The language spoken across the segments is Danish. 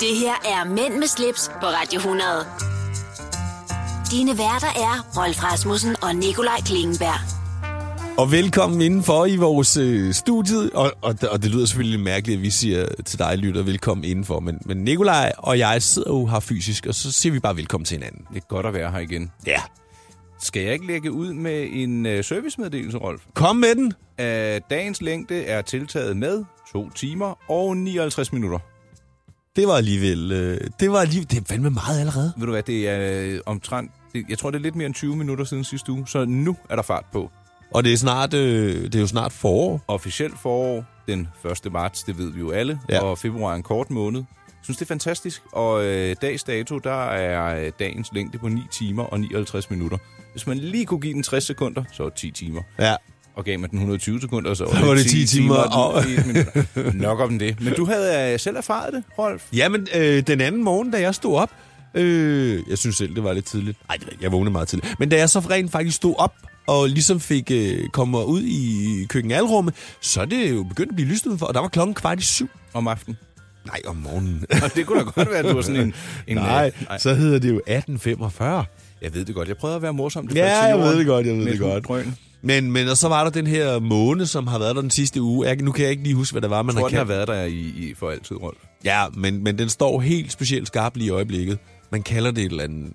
Det her er Mænd med slips på Radio 100. Dine værter er Rolf Rasmussen og Nikolaj Klingenberg. Og velkommen indenfor i vores øh, studie. Og, og, og det lyder selvfølgelig lidt mærkeligt, at vi siger til dig, lytter, velkommen indenfor. Men, men Nikolaj og jeg sidder jo her fysisk, og så siger vi bare velkommen til hinanden. Det er godt at være her igen. Ja. Skal jeg ikke lægge ud med en øh, servicemeddelelse, Rolf? Kom med den. Øh, dagens længde er tiltaget med 2 timer og 59 minutter. Det var alligevel... Øh, det var alligevel... Det er fandme meget allerede. Ved du hvad, det er øh, omtrent... Det, jeg tror, det er lidt mere end 20 minutter siden sidste uge, så nu er der fart på. Og det er, snart, øh, det er jo snart forår. Officielt forår den 1. marts, det ved vi jo alle, Ja. ja. og februar er en kort måned. Jeg synes, det er fantastisk, og øh, dags dato, der er øh, dagens længde på 9 timer og 59 minutter. Hvis man lige kunne give den 60 sekunder, så er det 10 timer. Ja. og gav mig den 120 sekunder, så, var det 10 timer og- og 10 minutter. Nok om det. Men du havde øh, selv erfaret det, Rolf. Jamen, øh, den anden morgen, da jeg stod op... Øh, jeg synes selv, det var lidt tidligt. Nej, jeg vågnede meget tidligt. Men da jeg så rent faktisk stod op og ligesom fik øh, kommet ud i køkkenalrummet, så er det jo begyndt at blive lyst udenfor, og der var klokken kvart i syv. Om aftenen. Nej, om morgenen. Og det kunne da godt være, at du var sådan en... en nej, øh, nej, så hedder det jo 1845. jeg ved det godt. Jeg prøvede at være morsom. Det Ja, faldt til jeg ved jorden det godt, jeg ved med det et godt. Drøn. Jeg Men, men og så var der den her måne, som har været der den sidste uge. Jeg, nu kan jeg ikke lige huske, hvad det var, man tror, har den har kaldt. været der i, i, for altid, Rolf. Ja, men, men den står helt specielt skarp lige i øjeblikket. Man kalder det et eller andet.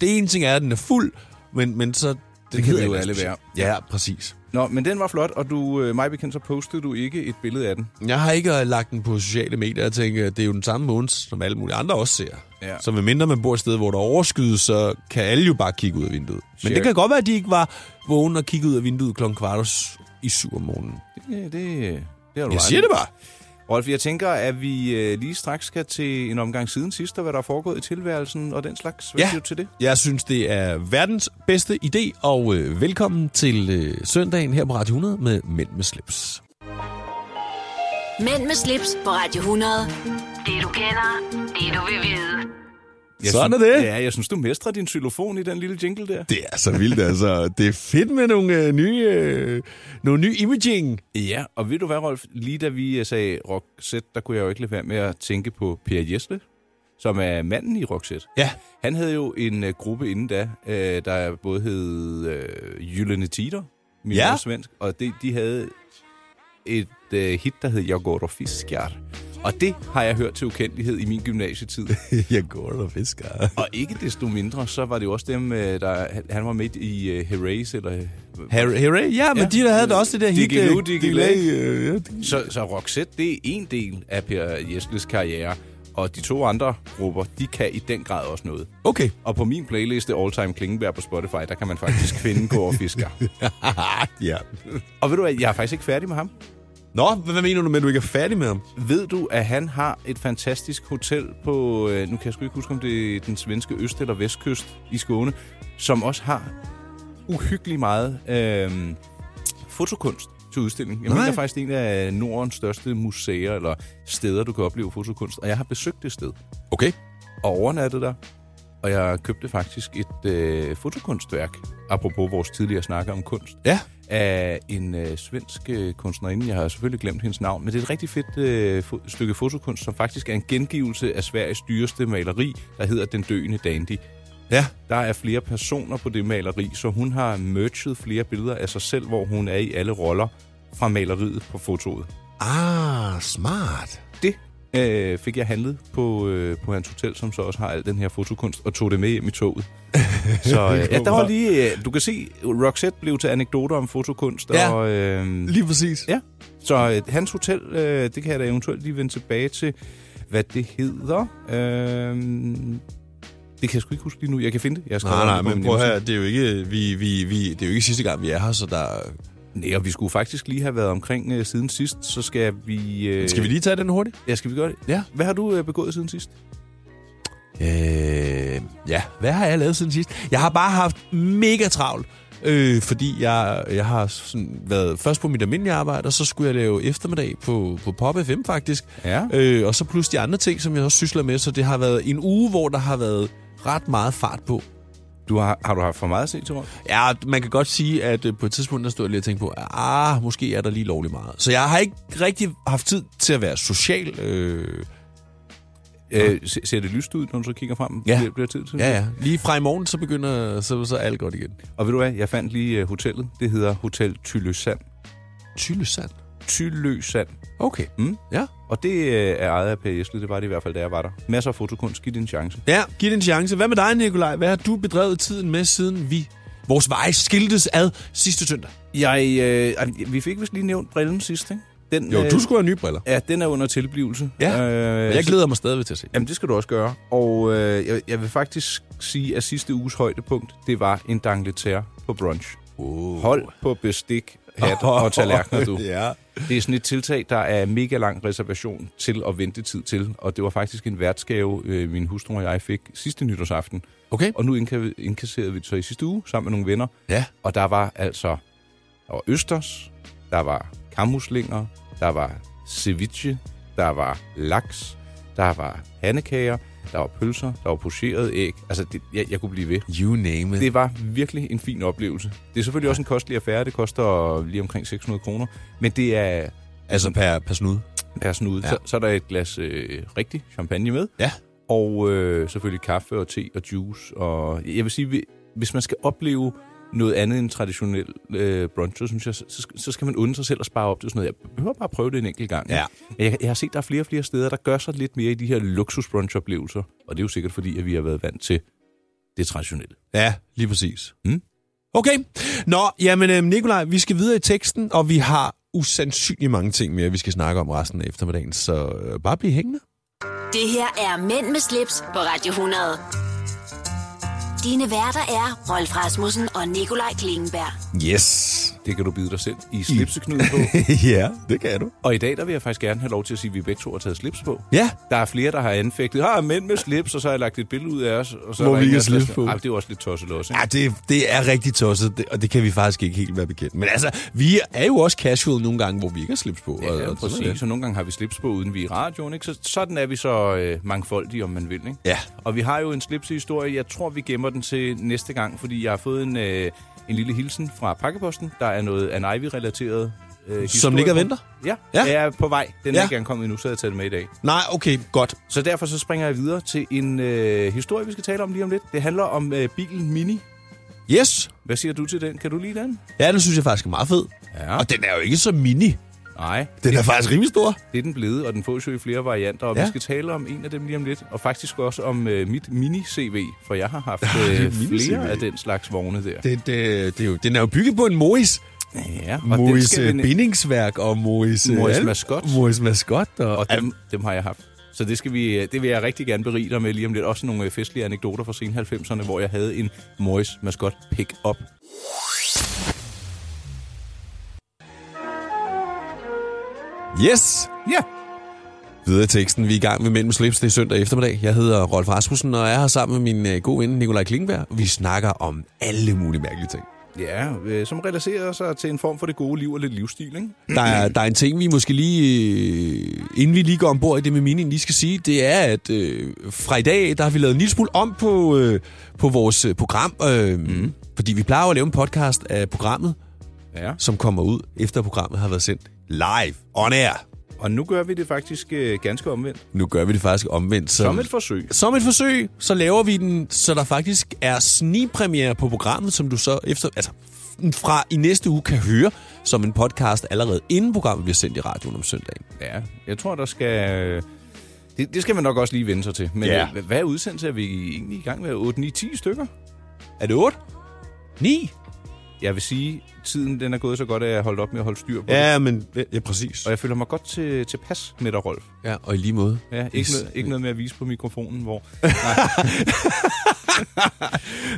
Det ene ting er, at den er fuld, men, men så... Den kan hedder vi jo et alle eller andet specielt. Ja, præcis. Nå, men den var flot, og du, øh, mig bekendt, så postede du ikke et billede af den. Jeg har ikke øh, lagt den på sociale medier. Jeg tænker, at det er jo den samme måne, som alle mulige andre også ser. Ja. Så medmindre man bor et sted, hvor der er overskyde, så kan alle jo bare kigge ud af vinduet. Men Sure. det kan godt være, at de ikke var vågne og kiggede ud af vinduet klokken kvart i syv om morgenen. Det, det, det har du Jeg ret siger i. det bare. Rolf, jeg tænker, at vi øh, lige straks skal til en omgang siden sidst, og hvad der er foregået i tilværelsen og den slags. Hvad Ja. siger du til det? Jeg synes, det er verdens bedste idé, og øh, velkommen til øh, søndagen her på Radio 100 med Mænd med slips. Mænd med slips på Radio 100. Det du kender, det du vil vide. Sådan synes- er det. Ja, jeg synes, du mestrer din xylofon i den lille jingle der. Det er så vildt, altså. Det er fedt med nogle øh, nye, øh, nogle nye imaging. Ja, og ved du hvad, Rolf? Lige da vi øh, sagde Roxette, der kunne jeg jo ikke lade være med at tænke på Per Jesle, som er manden i Roxette. Ja. Han havde jo en øh, gruppe inden da, øh, der både hed øh, Jyllene Tider, min Ja. ja. svensk, og de, de havde et øh, hit, der hed Jeg går der fiskjart. Og det har jeg hørt til ukendelighed i min gymnasietid. Jeg går og fisker. og ikke desto mindre, så var det jo også dem, øh, der, han- han var med i øh, Herace, eller øh, Harry, Harry? Ja, men Ja. de der havde da også det der hit. Digiloo, øh, Digiloo. øh, ja, det- Så, så Roxette, det er en del af Per Jeskles karriere, og de to andre grupper, de kan i den grad også noget. Okay. Og på min playliste All Time Klingenberg på Spotify, der kan man faktisk finde Kåre Fisker. ja. Og ved du hvad, jeg er faktisk ikke færdig med ham. Nå, hvad, hvad mener du med, at du ikke er færdig med ham? Ved du, at han har et fantastisk hotel på, øh, nu kan jeg sgu ikke huske, om det er den svenske øst- eller vestkyst i Skåne, som også har uhyggelig meget øh, fotokunst til udstilling. Jeg Nej. mener det er faktisk en af Nordens største museer eller steder, du kan opleve fotokunst. Og jeg har besøgt det sted. Okay. og overnattede der. Og jeg købte faktisk et øh, fotokunstværk, apropos vores tidligere snakker om kunst, Ja. af en øh, svensk øh, kunstnerinde. Jeg har selvfølgelig glemt hendes navn, men det er et rigtig fedt øh, fo- stykke fotokunst, som faktisk er en gengivelse af Sveriges dyreste maleri, der hedder Den døende dandy. Ja. Der er flere personer på det maleri, så hun har merged flere billeder af sig selv, hvor hun er i alle roller fra maleriet på fotoet. Ah, smart. Det øh, fik jeg handlet på, øh, på hans hotel, som så også har al den her fotokunst, og tog det med hjem i toget. så øh, ja, der var lige... Øh, du kan se, Roxette blev til anekdoter om fotokunst, Ja. ja. og... Øh, Lige præcis. ja. Så øh, hans hotel, øh, det kan jeg da eventuelt lige vende tilbage til, hvad det hedder. Øh, det kan jeg sgu ikke huske lige nu. Jeg kan finde det. Jeg skal Nej, nej, men prøv at høre, det er jo ikke, øh, vi, vi, vi, det er jo ikke sidste gang, vi er her, så der... Nej, og vi skulle faktisk lige have været omkring øh, siden sidst, så skal vi... Øh, Skal vi lige tage den hurtigt? Ja, skal vi gøre det? Ja. Hvad har du øh, begået siden sidst? Øh, ja, hvad har jeg lavet siden sidst? Jeg har bare haft mega travlt, øh, fordi jeg, jeg har sådan været først på mit almindelige arbejde, og så skulle jeg lave eftermiddag på, på Pop FM faktisk. Ja. Øh, og så plus de andre ting, som jeg også sysler med, så det har været en uge, hvor der har været ret meget fart på. Du har, har du haft for meget at se til rundt? Ja, man kan godt sige, at øh, på et tidspunkt, der stod jeg lige og tænkte på, ah, måske er der lige lovlig meget. Så jeg har ikke rigtig haft tid til at være social. Øh, Øh, se- ser det lyst ud, når du så kigger frem? Ja. Bliver, bliver tid til? det? Ja, ja. Lige fra i morgen, så begynder så, så er alt godt igen. Og ved du hvad, jeg fandt lige øh, hotellet. Det hedder Hotel Tyløsand. Tylesand. Tyløsand. Okay. Mm. Ja. Og det øh, er ejet af Per Jesle. Det var det i hvert fald, da jeg var der. Masser af fotokunst. Giv det en chance. Ja, giv det en chance. Hvad med dig, Nikolaj? Hvad har du bedrevet tiden med, siden vi vores veje skiltes ad sidste søndag? Jeg, øh, ej, vi fik vist lige nævnt brillen sidst, ikke? Den, øh, Jo, du skulle have nye briller. Ja, den er under tilblivelse. Ja, øh, Men jeg glæder mig stadigvæk til at se. Jamen, det skal du også gøre. Og øh, jeg, jeg vil faktisk sige, at sidste uges højdepunkt, det var en dangleterre på brunch. Oh. Hold på bestik, hat og tallerkener, du. ja. Det er sådan et tiltag, der er mega lang reservation til og ventetid til. Og det var faktisk en værtsgave, øh, min hustru og jeg fik sidste nytårsaften. Okay. Og nu indka- indkasserede vi det så i sidste uge sammen med nogle venner. Ja. Og der var altså der var østers, der var kammuslinger, der var ceviche, der var laks, der var pandekager, der var pølser, der var pocheret æg. Altså, det, jeg, jeg kunne blive ved. You name it. Det var virkelig en fin oplevelse. Det er selvfølgelig også en kostelig affære. Det koster lige omkring 600 kroner. Men det er Altså per, per snude. per snude. Ja. Ja. Så, så er der et glas øh, rigtig champagne med. Ja. Og øh, selvfølgelig kaffe og te og juice. Og jeg vil sige, hvi- hvis man skal opleve noget andet end traditionel øh, brunch, så, synes jeg, så, sk- så skal man unde sig selv at spare op til sådan noget. Jeg behøver bare at prøve det en enkelt gang. Ja. Men Jeg, jeg har set, der er flere og flere steder, der gør sig lidt mere i de her luksusbrunch-oplevelser. Og det er jo sikkert fordi, at vi har været vant til det traditionelle. Ja, lige præcis. Mm. Okay. Nå, jamen øh, Nikolaj, vi skal videre i teksten, og vi har usandsynligt mange ting mere, vi skal snakke om resten af eftermiddagen, så øh, bare bliv hængende. Det her er Mænd med slips på Radio 100. Dine værter er Rolf Rasmussen og Nikolaj Klingenberg. Yes. Det kan du bide dig selv i slipseknuden på. ja, det kan du. og i dag, der vil jeg faktisk gerne have lov til at sige, at vi begge to har taget slips på. Ja, Der er flere, der har anfægtet. Har mænd med slips, og så har jeg lagt et billede ud af os. Og så Hvor er der vi en, ikke der har slips siger, på. Ej, det er jo også lidt tosset også, ikke? ja det, det er rigtig tosset, det, og det kan vi faktisk ikke helt være bekendt. Men altså, vi er jo også casual nogle gange, hvor vi ikke har slips på. og- Ja, ja, og sådan er præcis. Så nogle gange har vi slips på, uden vi er i radioen. Ikke? Så sådan er vi så øh, mangfoldige, om man vil. Ikke? Ja. Og vi har jo en slipsehistorie. Jeg tror, vi gemmer den til næste gang, fordi jeg har fået en, øh, en lille hilsen fra pakkeposten. Der er noget An Ivy-relateret øh, historie ligger og på. venter? Ja, Ja. ja, jeg er på vej. Den er Ja. ikke engang kommet endnu, så jeg har taget den med i dag. det. Nej, okay, godt. Så derfor så springer jeg videre til en øh, historie, vi skal tale om lige om lidt. Det handler om øh, bilen Mini. Yes. Hvad siger du til den? Kan du lide den? Ja, den synes jeg faktisk er meget fed. Ja. Og den er jo ikke så mini. Nej, Den er faktisk rimelig stor. det er den blevet, og den fås jo i flere varianter, og Ja. ja. vi skal tale om en af dem lige om lidt, og faktisk også om øh, mit mini-CV, for jeg har haft øh, mini-CV. flere af den slags vogne der. Den, det, det er jo, den er jo bygget på en Mois. Ja, og den Mois skal øh, vi, bindingsværk og Mois... øh, Mois alt- maskot. Mois maskot. Og, og dem, dem har jeg haft. Så det, skal vi, øh, det vil jeg rigtig gerne berige dig med lige om lidt. Også nogle øh, festlige anekdoter fra sen 90'erne, hvor jeg havde en Morris maskot pick-up. Yes! Ja, Videre i teksten. Vi er i gang med Mellem Slips. Det er søndag eftermiddag. Jeg hedder Rolf Rasmussen, og jeg er her sammen med min øh, gode ven Nikolaj Klingberg. Vi snakker om alle mulige mærkelige ting. ja øh, som relaterer sig til en form for det gode liv og lidt livsstil, ikke? Der er, der er en ting, vi måske lige, øh, inden vi lige går ombord i det med meningen, lige skal sige, det er, at øh, fra i dag, der har vi lavet en lille smule om på, øh, på vores øh, program. Øh, Mhm. mm. Fordi vi plejer jo at lave en podcast af programmet, Ja. som kommer ud efter programmet har været sendt live, on air. Og nu gør vi det faktisk øh, ganske omvendt. Nu gør vi det faktisk omvendt. Så, Som et forsøg. som et forsøg, så laver vi den, så der faktisk er snigpremiere på programmet, som du så efter, altså, fra i næste uge kan høre som en podcast allerede inden programmet bliver sendt i radioen om søndagen. Ja, jeg tror, der skal... Det, det skal man nok også lige vende sig til. Men Ja. ja. hvad udsendelse er vi egentlig i gang med? 8, 9, 10 stykker? Er det 8? 9? Jeg vil sige, tiden den er gået så godt, at jeg har holdt op med at holde styr på det. Ja, men ja, præcis. Og jeg føler mig godt til, tilpas med dig, Rolf. Ja, og i lige måde. Ja, ikke, noget, ikke noget med at vise på mikrofonen, hvor...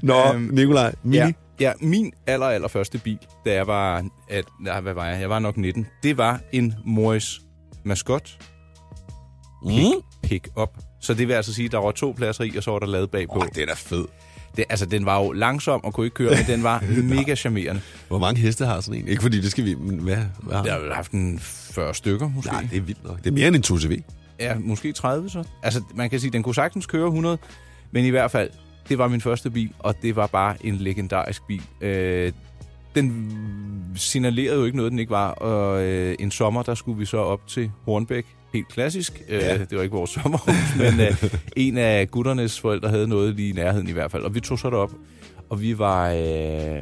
Nå, øhm, Nikolaj, mini. Ja, ja min aller, aller første bil, da jeg var... At, nej, hvad var jeg? Jeg var nok 19. Det var en Morris Mascot Mm. pick-up. Så det vil altså sige, at der var to pladser i, og så var der lavet bagpå. Oh, den er fed. Det, altså, den var jo langsom og kunne ikke køre, men den var mega charmerende. Hvor mange heste har sådan en? Ikke fordi det skal vi... Men hvad? hvad? Jeg har vel haft en 40 stykker, måske. det er vildt nok. Det er mere end en 2CV. Ja, måske 30 så. Altså, man kan sige, den kunne sagtens køre 100, men i hvert fald, det var min første bil, og det var bare en legendarisk bil. Øh, den signalerede jo ikke noget, den ikke var, og øh, en sommer, der skulle vi så op til Hornbæk helt klassisk. Ja. Ja. Øh, det var ikke vores sommerhus, men øh, en af gutternes forældre havde noget lige i nærheden i hvert fald. Og vi tog så derop, og vi var, øh,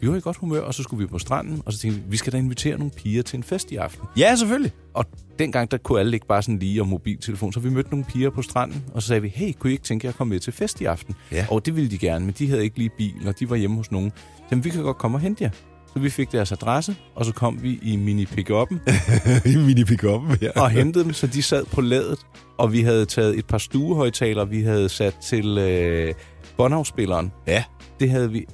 vi var i godt humør, og så skulle vi på stranden, og så tænkte vi, vi skal da invitere nogle piger til en fest i aften. Ja, selvfølgelig. Og dengang, der kunne alle ikke bare sådan lige om mobiltelefon, så vi mødte nogle piger på stranden, og så sagde vi, hey, kunne I ikke tænke jer at komme med til fest i aften? Ja. Og det ville de gerne, men de havde ikke lige bil, og de var hjemme hos nogen. Jamen, vi kan godt komme og hente jer. Så vi fik deres adresse, og så kom vi i mini pick I mini pick ja. og hentede dem, så de sad på ladet, og vi havde taget et par stuehøjtalere, vi havde sat til øh, Bonhavspilleren. Ja. Det havde vi...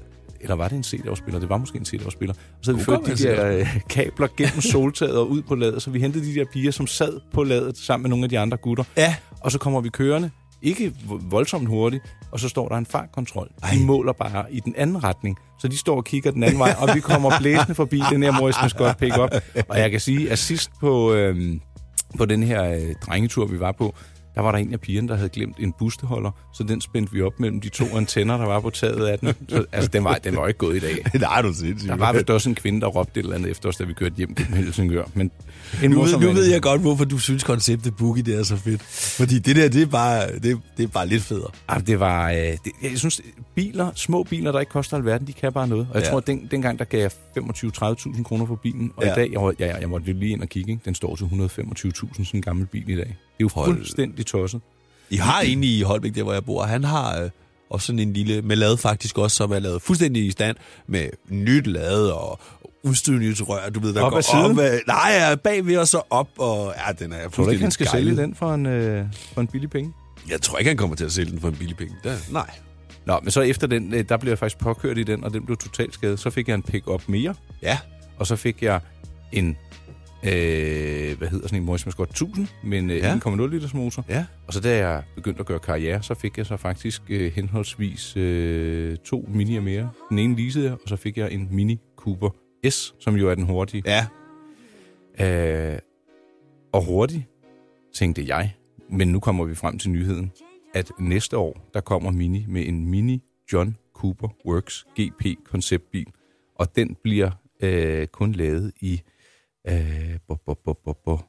Eller var det en CD-afspiller? Det var måske en CD-afspiller. Og så havde vi Kunne ført godt de være der øh, kabler gennem soltaget og ud på ladet, så vi hentede de der piger, som sad på ladet sammen med nogle af de andre gutter. Ja. Og så kommer vi kørende, ikke vo- voldsomt hurtigt, og så står der en fartkontrol. De Ej. måler bare i den anden retning. Så de står og kigger den anden vej, og vi kommer blæsende forbi den her Morrison's Scott pick-up. Og jeg kan sige, at sidst på, øhm, på den her øh, drengetur, vi var på, der var der en af pigerne, der havde glemt en busteholder, så den spændte vi op mellem de to antenner, der var på taget af den. Så, altså, den var, den var ikke gået i dag. Nej, du er sindssyg. Der var vist også en kvinde, der råbte et eller andet efter os, da vi kørte hjem gennem Helsingør. Men en nu, ved, morsom nu en. ved jeg godt, hvorfor du synes, konceptet Boogie det er så fedt. Fordi det der, det er bare, det, det er bare lidt federe. Ah, det var... Øh, det, jeg synes, biler, små biler, der ikke koster alverden, de kan bare noget. Og jeg Ja. ja. tror, at den, dengang, der gav jeg 25-30.000 kroner for bilen. Og ja. Ja. i dag, jeg, var- jeg, jeg måtte jo lige ind og kigge, ikke? den står til 125.000, sådan en gammel bil i dag. Det er jo Hold. fuldstændig tosset. I har egentlig i Holbæk, der hvor jeg bor, han har øh, også sådan en lille, med lade faktisk også, som er lavet fuldstændig i stand, med nyt lade og udstødningsrør, du ved, der Op går ad siden? op. ad- Nej, ja, bagved og så op, og ja, den er Tror du ikke, han skal skejlet. sælge den for en, øh, for en billig penge? Jeg tror ikke, han kommer til at sælge den for en billig penge. Der, nej. Nå, men så efter den, øh, der blev jeg faktisk påkørt i den, og den blev totalt skadet. Så fik jeg en pick-up mere, Ja. og så fik jeg en... Øh, hvad hedder sådan en Morris Mascot 1000 med øh, en Ja. ja. 1,0 liters motor. Ja. Og så da jeg begyndte at gøre karriere, så fik jeg så faktisk øh, henholdsvis øh, to minier mere. Den ene leasede jeg, og så fik jeg en Mini Cooper S, som jo er den hurtige. Ja. Ja. Øh, og hurtig, tænkte jeg, men nu kommer vi frem til nyheden, at næste år, der kommer Mini med en Mini John Cooper Works GP konceptbil. Og den bliver øh, kun lavet i øh, bo, bo, bo, bo, bo.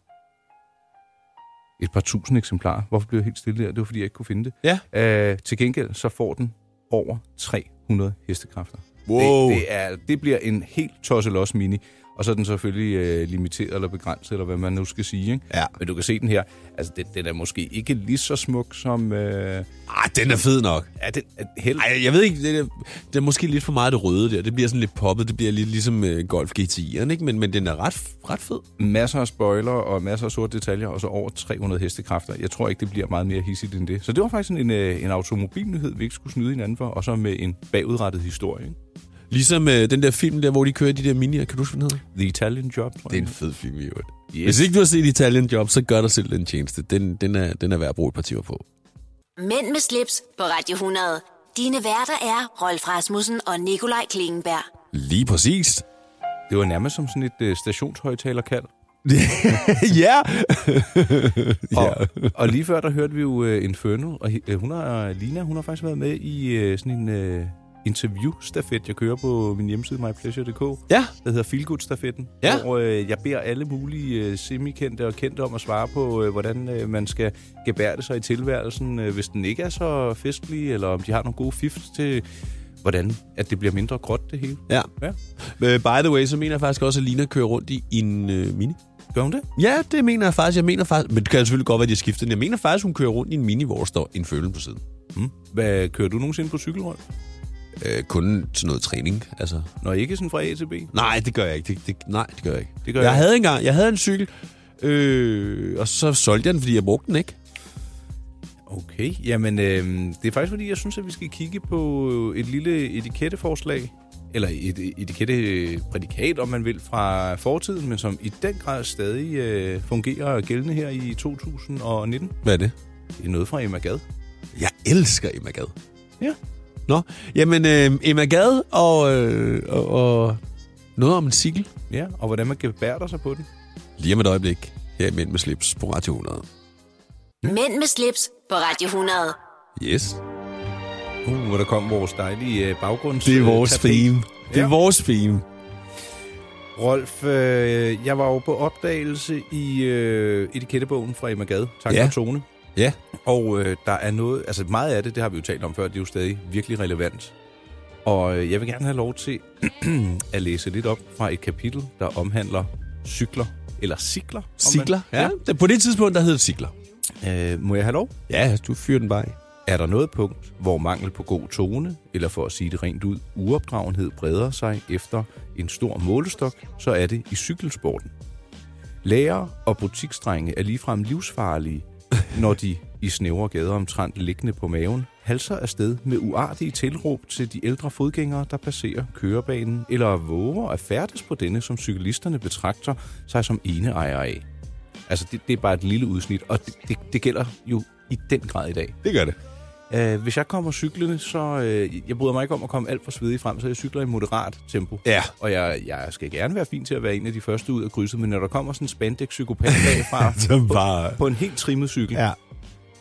et par tusind eksemplarer. Hvorfor blev jeg helt stille der? Det var, fordi jeg ikke kunne finde det. Ja. Øh, til gengæld så får den over 300 hestekræfter. Det, det, er, det bliver en helt tosselos mini. Og så er den selvfølgelig øh, limiteret eller begrænset, eller hvad man nu skal sige. Ikke? Ja. Men du kan se den her. Altså, den, den er måske ikke lige så smuk som... Øh, Ah, den er fed nok. er den, er, held, Ej, jeg ved ikke, det er, det er måske lidt for meget det røde der. Det bliver sådan lidt poppet, det bliver lidt ligesom øh, Golf GTI'eren, ikke? Men, men den er ret, ret fed. masser af spoiler og masser af sorte detaljer, og så over 300 hestekræfter. Jeg tror ikke, det bliver meget mere hissigt end det. Så det var faktisk sådan en, øh, en automobilnyhed, vi ikke skulle snyde hinanden for, og så med en bagudrettet historie. Ikke? Ligesom øh, den der film der, hvor de kører de der minier. Kan du huske, hvad den hedder? The Italian Job, tror Det er jeg. en fed film, i øvrigt. Yes. Yes. Hvis ikke du har set Italian Job, så gør dig selv den tjeneste. Den, den, er, den er værd at bruge et par timer på. Mænd med slips på Radio 100. Dine værter er Rolf Rasmussen og Nikolaj Klingenberg. Lige præcis. Det var nærmest som sådan et øh, stationshøjtalerkald. ja! Og, og lige før, der hørte vi jo uh, Inferno, og uh, hun har, Lina, hun har faktisk været med i uh, sådan en uh, interview-stafet, jeg kører på min hjemmeside mypleasure.dk, Ja, der hedder Feelgood-stafetten, Ja. hvor uh, jeg beder alle mulige uh, semikendte og kendte om at svare på, uh, hvordan uh, man skal gebære det sig i tilværelsen, uh, hvis den ikke er så festlig, eller om de har nogle gode fifs til, hvordan at det bliver mindre gråt det hele. ja. Ja. Øh, By the way, så mener jeg faktisk også, at Lina kører rundt i en øh, mini. Gør hun det? Ja, det mener jeg faktisk. Jeg mener faktisk, men det kan selvfølgelig godt være, at de har skiftet den. Jeg mener faktisk, hun kører rundt i en mini, hvor der står en følelse på siden. Hmm. Hvad, kører du nogensinde på cykelhold? Øh, kun til noget træning, altså. Når ikke sådan fra A til B? Nej, det gør jeg ikke. Det, det, nej, det gør jeg ikke. Det gør jeg jeg ikke. havde engang, jeg havde en cykel, øh, og så solgte jeg den, fordi jeg brugte den ikke. Okay, jamen øh, det er faktisk fordi, jeg synes, at vi skal kigge på et lille etiketteforslag, eller et etiketteprædikat, om man vil, fra fortiden, men som i den grad stadig øh, fungerer gældende her i 2019. Hvad er det? Det er noget fra Emma Gad. Jeg elsker Emma Gad. Ja. Nå, jamen øh, Emma Gad og, øh, og, og noget om en cykel. Ja, og hvordan man gebærder sig på den. Lige om et øjeblik, her i Mænd med slips på Radio 100. Mænd med slips på Radio 100. Yes. Uh, hvor der kom vores dejlige øh, baggrunds... Det er vores øh, tapet. theme. Det er Ja. vores theme. Rolf, øh, jeg var jo på opdagelse i øh, etikettebogen fra Emma Gade, tak Ja. ja. Tone. Ja. Og øh, der er noget, altså meget af det, det har vi jo talt om før, det er jo stadig virkelig relevant. Og øh, jeg vil gerne have lov til at læse lidt op fra et kapitel, der omhandler cykler, eller cikler. om man- Sigler. Ja. ja. På det tidspunkt, der hed det Sigler. ja. Øh, må jeg have lov? Ja, du fyrer den bare af. Er der noget punkt, hvor mangel på god tone, eller for at sige det rent ud, uopdragenhed breder sig efter en stor målestok, så er det i cykelsporten. Lærere og butiksdrenge er ligefrem livsfarlige, når de i snævre gader omtrent liggende på maven, halser afsted med uartige tilråb til de ældre fodgængere, der passerer kørebanen, eller våger at færdes på denne, som cyklisterne betragter sig som ene ejer af. Altså, det, det er bare et lille udsnit, og det, det, det gælder jo i den grad i dag. Det gør det. Øh, hvis jeg kommer cyklende, så... Øh, jeg bryder mig ikke om at komme alt for svedig frem, så jeg cykler i moderat tempo. Ja. Og jeg, jeg skal gerne være fin til at være en af de første ud af krydset, men når der kommer sådan en spandex-psykopat bagfra Som bare... på en helt trimmet cykel, Ja.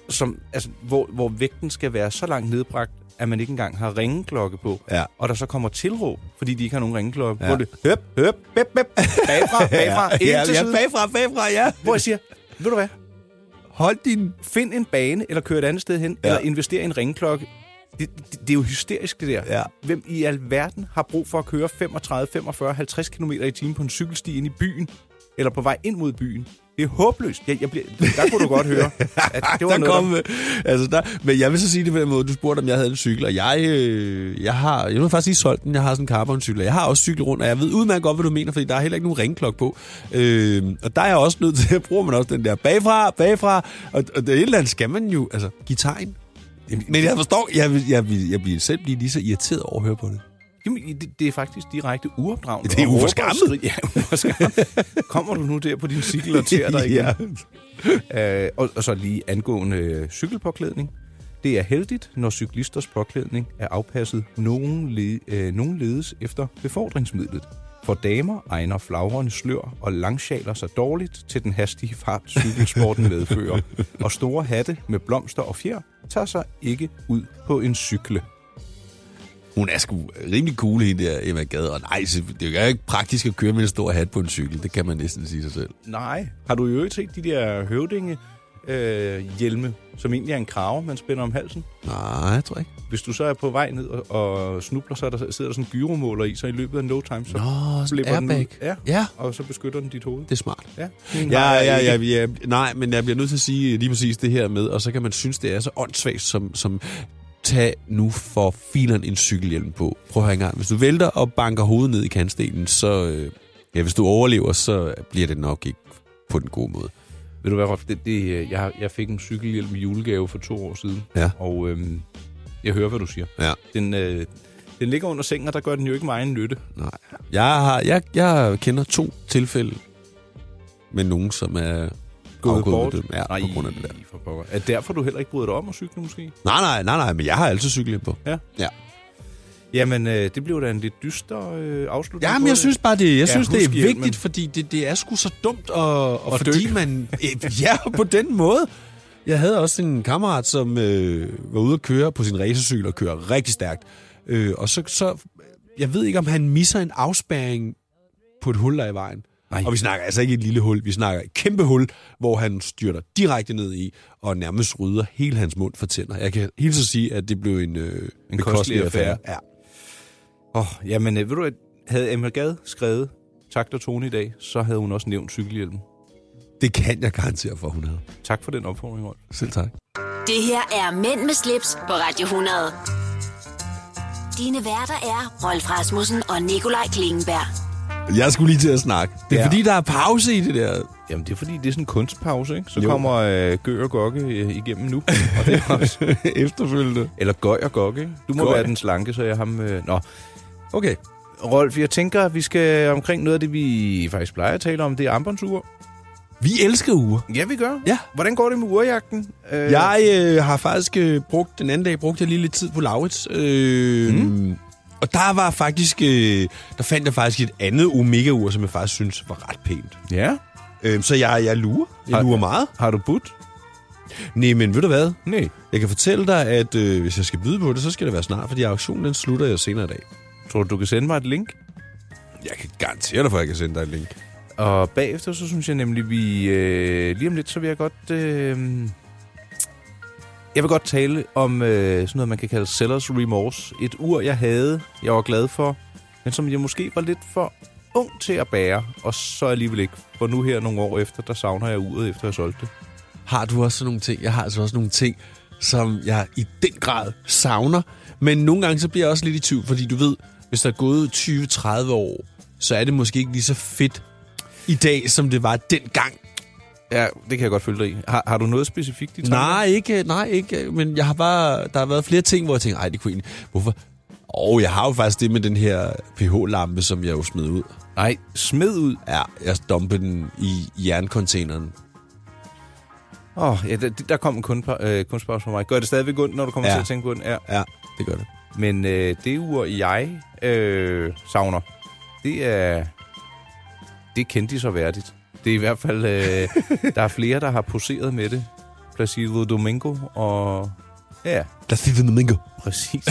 som, altså, hvor, hvor vægten skal være så langt nedbragt, at man ikke engang har ringeklokke på, Ja. og der så kommer tilråb, fordi de ikke har nogen ringeklokke på Ja. ja. det. Høp, høp, bep, bep, bagfra, bagfra, ind ja, til ja, siden. bagfra, bagfra, ja. Hvor jeg siger, ved du hvad, Hold din... find en bane, eller kør et andet sted hen, Ja. ja. eller invester i en ringklokke. Det, det, det er jo hysterisk, det der. Ja. Hvem i alverden har brug for at køre 35, 45, 50 km i timen på en cykelsti ind i byen, eller på vej ind mod byen? Det er håbløst. Jeg, jeg bliver, der kunne du godt høre, at det var der noget, kom, der, øh, altså der, men jeg vil så sige det på den måde, du spurgte, om jeg havde en cykel, og jeg, øh, jeg har, jeg har faktisk lige solgt den, jeg har sådan en carboncykel, og jeg har også cyklet rundt, og jeg ved udmærket godt, hvad du mener, fordi der er heller ikke nogen ringklok på. Øh, og der er jeg også nødt til, at bruge man også den der bagfra, bagfra, og, og det er et eller andet skal man jo, altså, give tegn. Men jeg forstår, jeg, vil- jeg, jeg, jeg bliver selv blive lige så irriteret over at høre på det. Jamen, det, det er faktisk direkte uopdragende. Det er og uforskammet. råber og skriger. Ja, uforskammet. Kommer du nu der på din cykel og tærer dig igen? Øh, og, og så lige angående øh, cykelpåklædning. Det er heldigt, når cyklisters påklædning er afpasset nogenle, øh, nogenledes efter befordringsmidlet. For damer egner flagrende slør og langsjaler sig dårligt til den hastige fart, cykelsporten medfører. Og store hatte med blomster og fjer tager sig ikke ud på en cykle. Hun er sgu rimelig cool, hende der Emma Gade. Og nej, så det er jo ikke praktisk at køre med en stor hat på en cykel. Det kan man næsten sige sig selv. Nej. Har du i øvrigt set de der høvdinge øh, hjelme, som egentlig er en krave, man spænder om halsen? Nej, jeg tror ikke. Hvis du så er på vej ned og, og snubler, så er der, sidder der sådan en gyromåler i, så i løbet af no time, så Nå, sådan en flipper den ud. airbag. Ja, Ja, og så beskytter den dit hoved. det er smart. Ja, Ja, ja, ja, ja, nej, men jeg bliver nødt til at sige lige præcis det her med, og så kan man synes, det er så åndssvagt, som, som tag nu for fileren en cykelhjelm på. Prøv at høre en gang. Hvis du vælter og banker hovedet ned i kantstenen, så... Øh, ja, hvis du overlever, så bliver det nok ikke på den gode måde. Ved du hvad, Rolf, det, det, øh, jeg, har- jeg fik en cykelhjelm i julegave for to år siden, Ja. og øhm, jeg hører, hvad du siger. Ja. Den, øh, den ligger under sengen, og der gør den jo ikke meget nytte. Nej. Jeg, har, jeg, jeg kender to tilfælde med nogen, som er afgået ved døden. Ja, Nej, på grund af det der. For pokker. Er derfor, du heller ikke bryder dig om at cykle, måske? Nej, nej, nej, nej, men jeg har altid cykelhjelm på. Ja. Ja. Jamen, øh, det blev da en lidt dyster øh, afslutning. Ja, på men jeg det. synes bare, det, jeg Ja, synes, det er husk hjelmen. vigtigt, fordi det, det er sgu så dumt, og, og, og Og fordi dø. man... øh, Ja, på den måde. Jeg havde også en kammerat, som øh, var ude at køre på sin racercykel og kører rigtig stærkt. Øh, og så, så... Jeg ved ikke, om han misser en afspæring på et hul, der er i vejen. Nej. Og vi snakker altså ikke et lille hul, vi snakker et kæmpe hul, hvor han styrter direkte ned i, og nærmest rydder hele hans mund for tænder. Jeg kan helt så sige, at det blev en, øh, en, kostelig affære. Ja. Oh, jamen, øh, ved du hvad, havde Emma Gad skrevet takt og tone i dag, så havde hun også nævnt cykelhjelmen. Det kan jeg garantere for, hun havde. Tak for den opfordring, Rolf. Selv tak. Det her er Mænd med slips på Radio 100. Dine værter er Rolf Rasmussen og Nikolaj Klingenberg. Jeg skulle lige til at snakke. Det er ja. Ja. fordi, der er pause i det der. Jamen, det er fordi, det er sådan en kunstpause, ikke? Så Jo. jo. kommer øh, Gø og Gokke øh, igennem nu. Og det er også, Efterfølgende. eller Gøj og Gokke. ikke? Du må Gøj. Gøj. være den slanke, så jeg ham... Øh, nå, Okay. Rolf, jeg tænker, at vi skal omkring noget af det, vi faktisk plejer at tale om. Det er armbåndsure. Vi elsker uger. Ja, vi gør. Ja. Hvordan går det med urejagten? Øh, Jeg øh, har faktisk øh, brugt, den anden dag brugte jeg lige lidt tid på Laurits. Øh, mm. Og der var faktisk, øh, der fandt jeg faktisk et andet Omega-ur, som jeg faktisk synes var ret pænt. Ja. Øh, så jeg, jeg lurer. Jeg Har- lurer meget. Har du budt? Nej, men ved du hvad? Nej. Jeg kan fortælle dig, at øh, hvis jeg skal byde på det, så skal det være snart, fordi auktionen den slutter jeg senere i dag. Tror du, du kan sende mig et link? Jeg kan garantere dig for, at jeg kan sende dig et link. Og bagefter, så synes jeg nemlig, vi... Øh, lige om lidt, så vil jeg godt... Øh, jeg vil godt tale om øh, sådan noget, man kan kalde sellers remorse. Et ur, jeg havde, jeg var glad for, men som jeg måske var lidt for ung til at bære, og så alligevel ikke. For nu her nogle år efter, der savner jeg uret, efter jeg solgte det. Har du også sådan nogle ting? Jeg har altså også nogle ting, som jeg i den grad savner. Men nogle gange så bliver jeg også lidt i tvivl, fordi du ved, hvis der er gået 20-30 år, så er det måske ikke lige så fedt i dag, som det var dengang. Ja, det kan jeg godt følge dig i. Har, har du noget specifikt i tanken? Nej, ikke, nej, ikke. Men jeg har bare, der har været flere ting, hvor jeg tænker, ej, det kunne egentlig... Hvorfor? Og jeg har jo faktisk det med den her pH-lampe, som jeg jo smed ud. Nej, smid ud. Ja, jeg dumpede den i jerncontaineren. Åh, oh, ja, der, der kom en kunde, øh, kunstpause fra mig. Gør det stadigvæk ondt, når du kommer Ja. ja. til at tænke på den? Ja. Ja, det gør det. Men øh, det ur, jeg øh, savner, det er... Det kendte de så værdigt. Det er i hvert fald... Øh, der er flere, der har poseret med det. Placido Domingo og... Ja, Lad os lige vide noget, Mingo. præcis.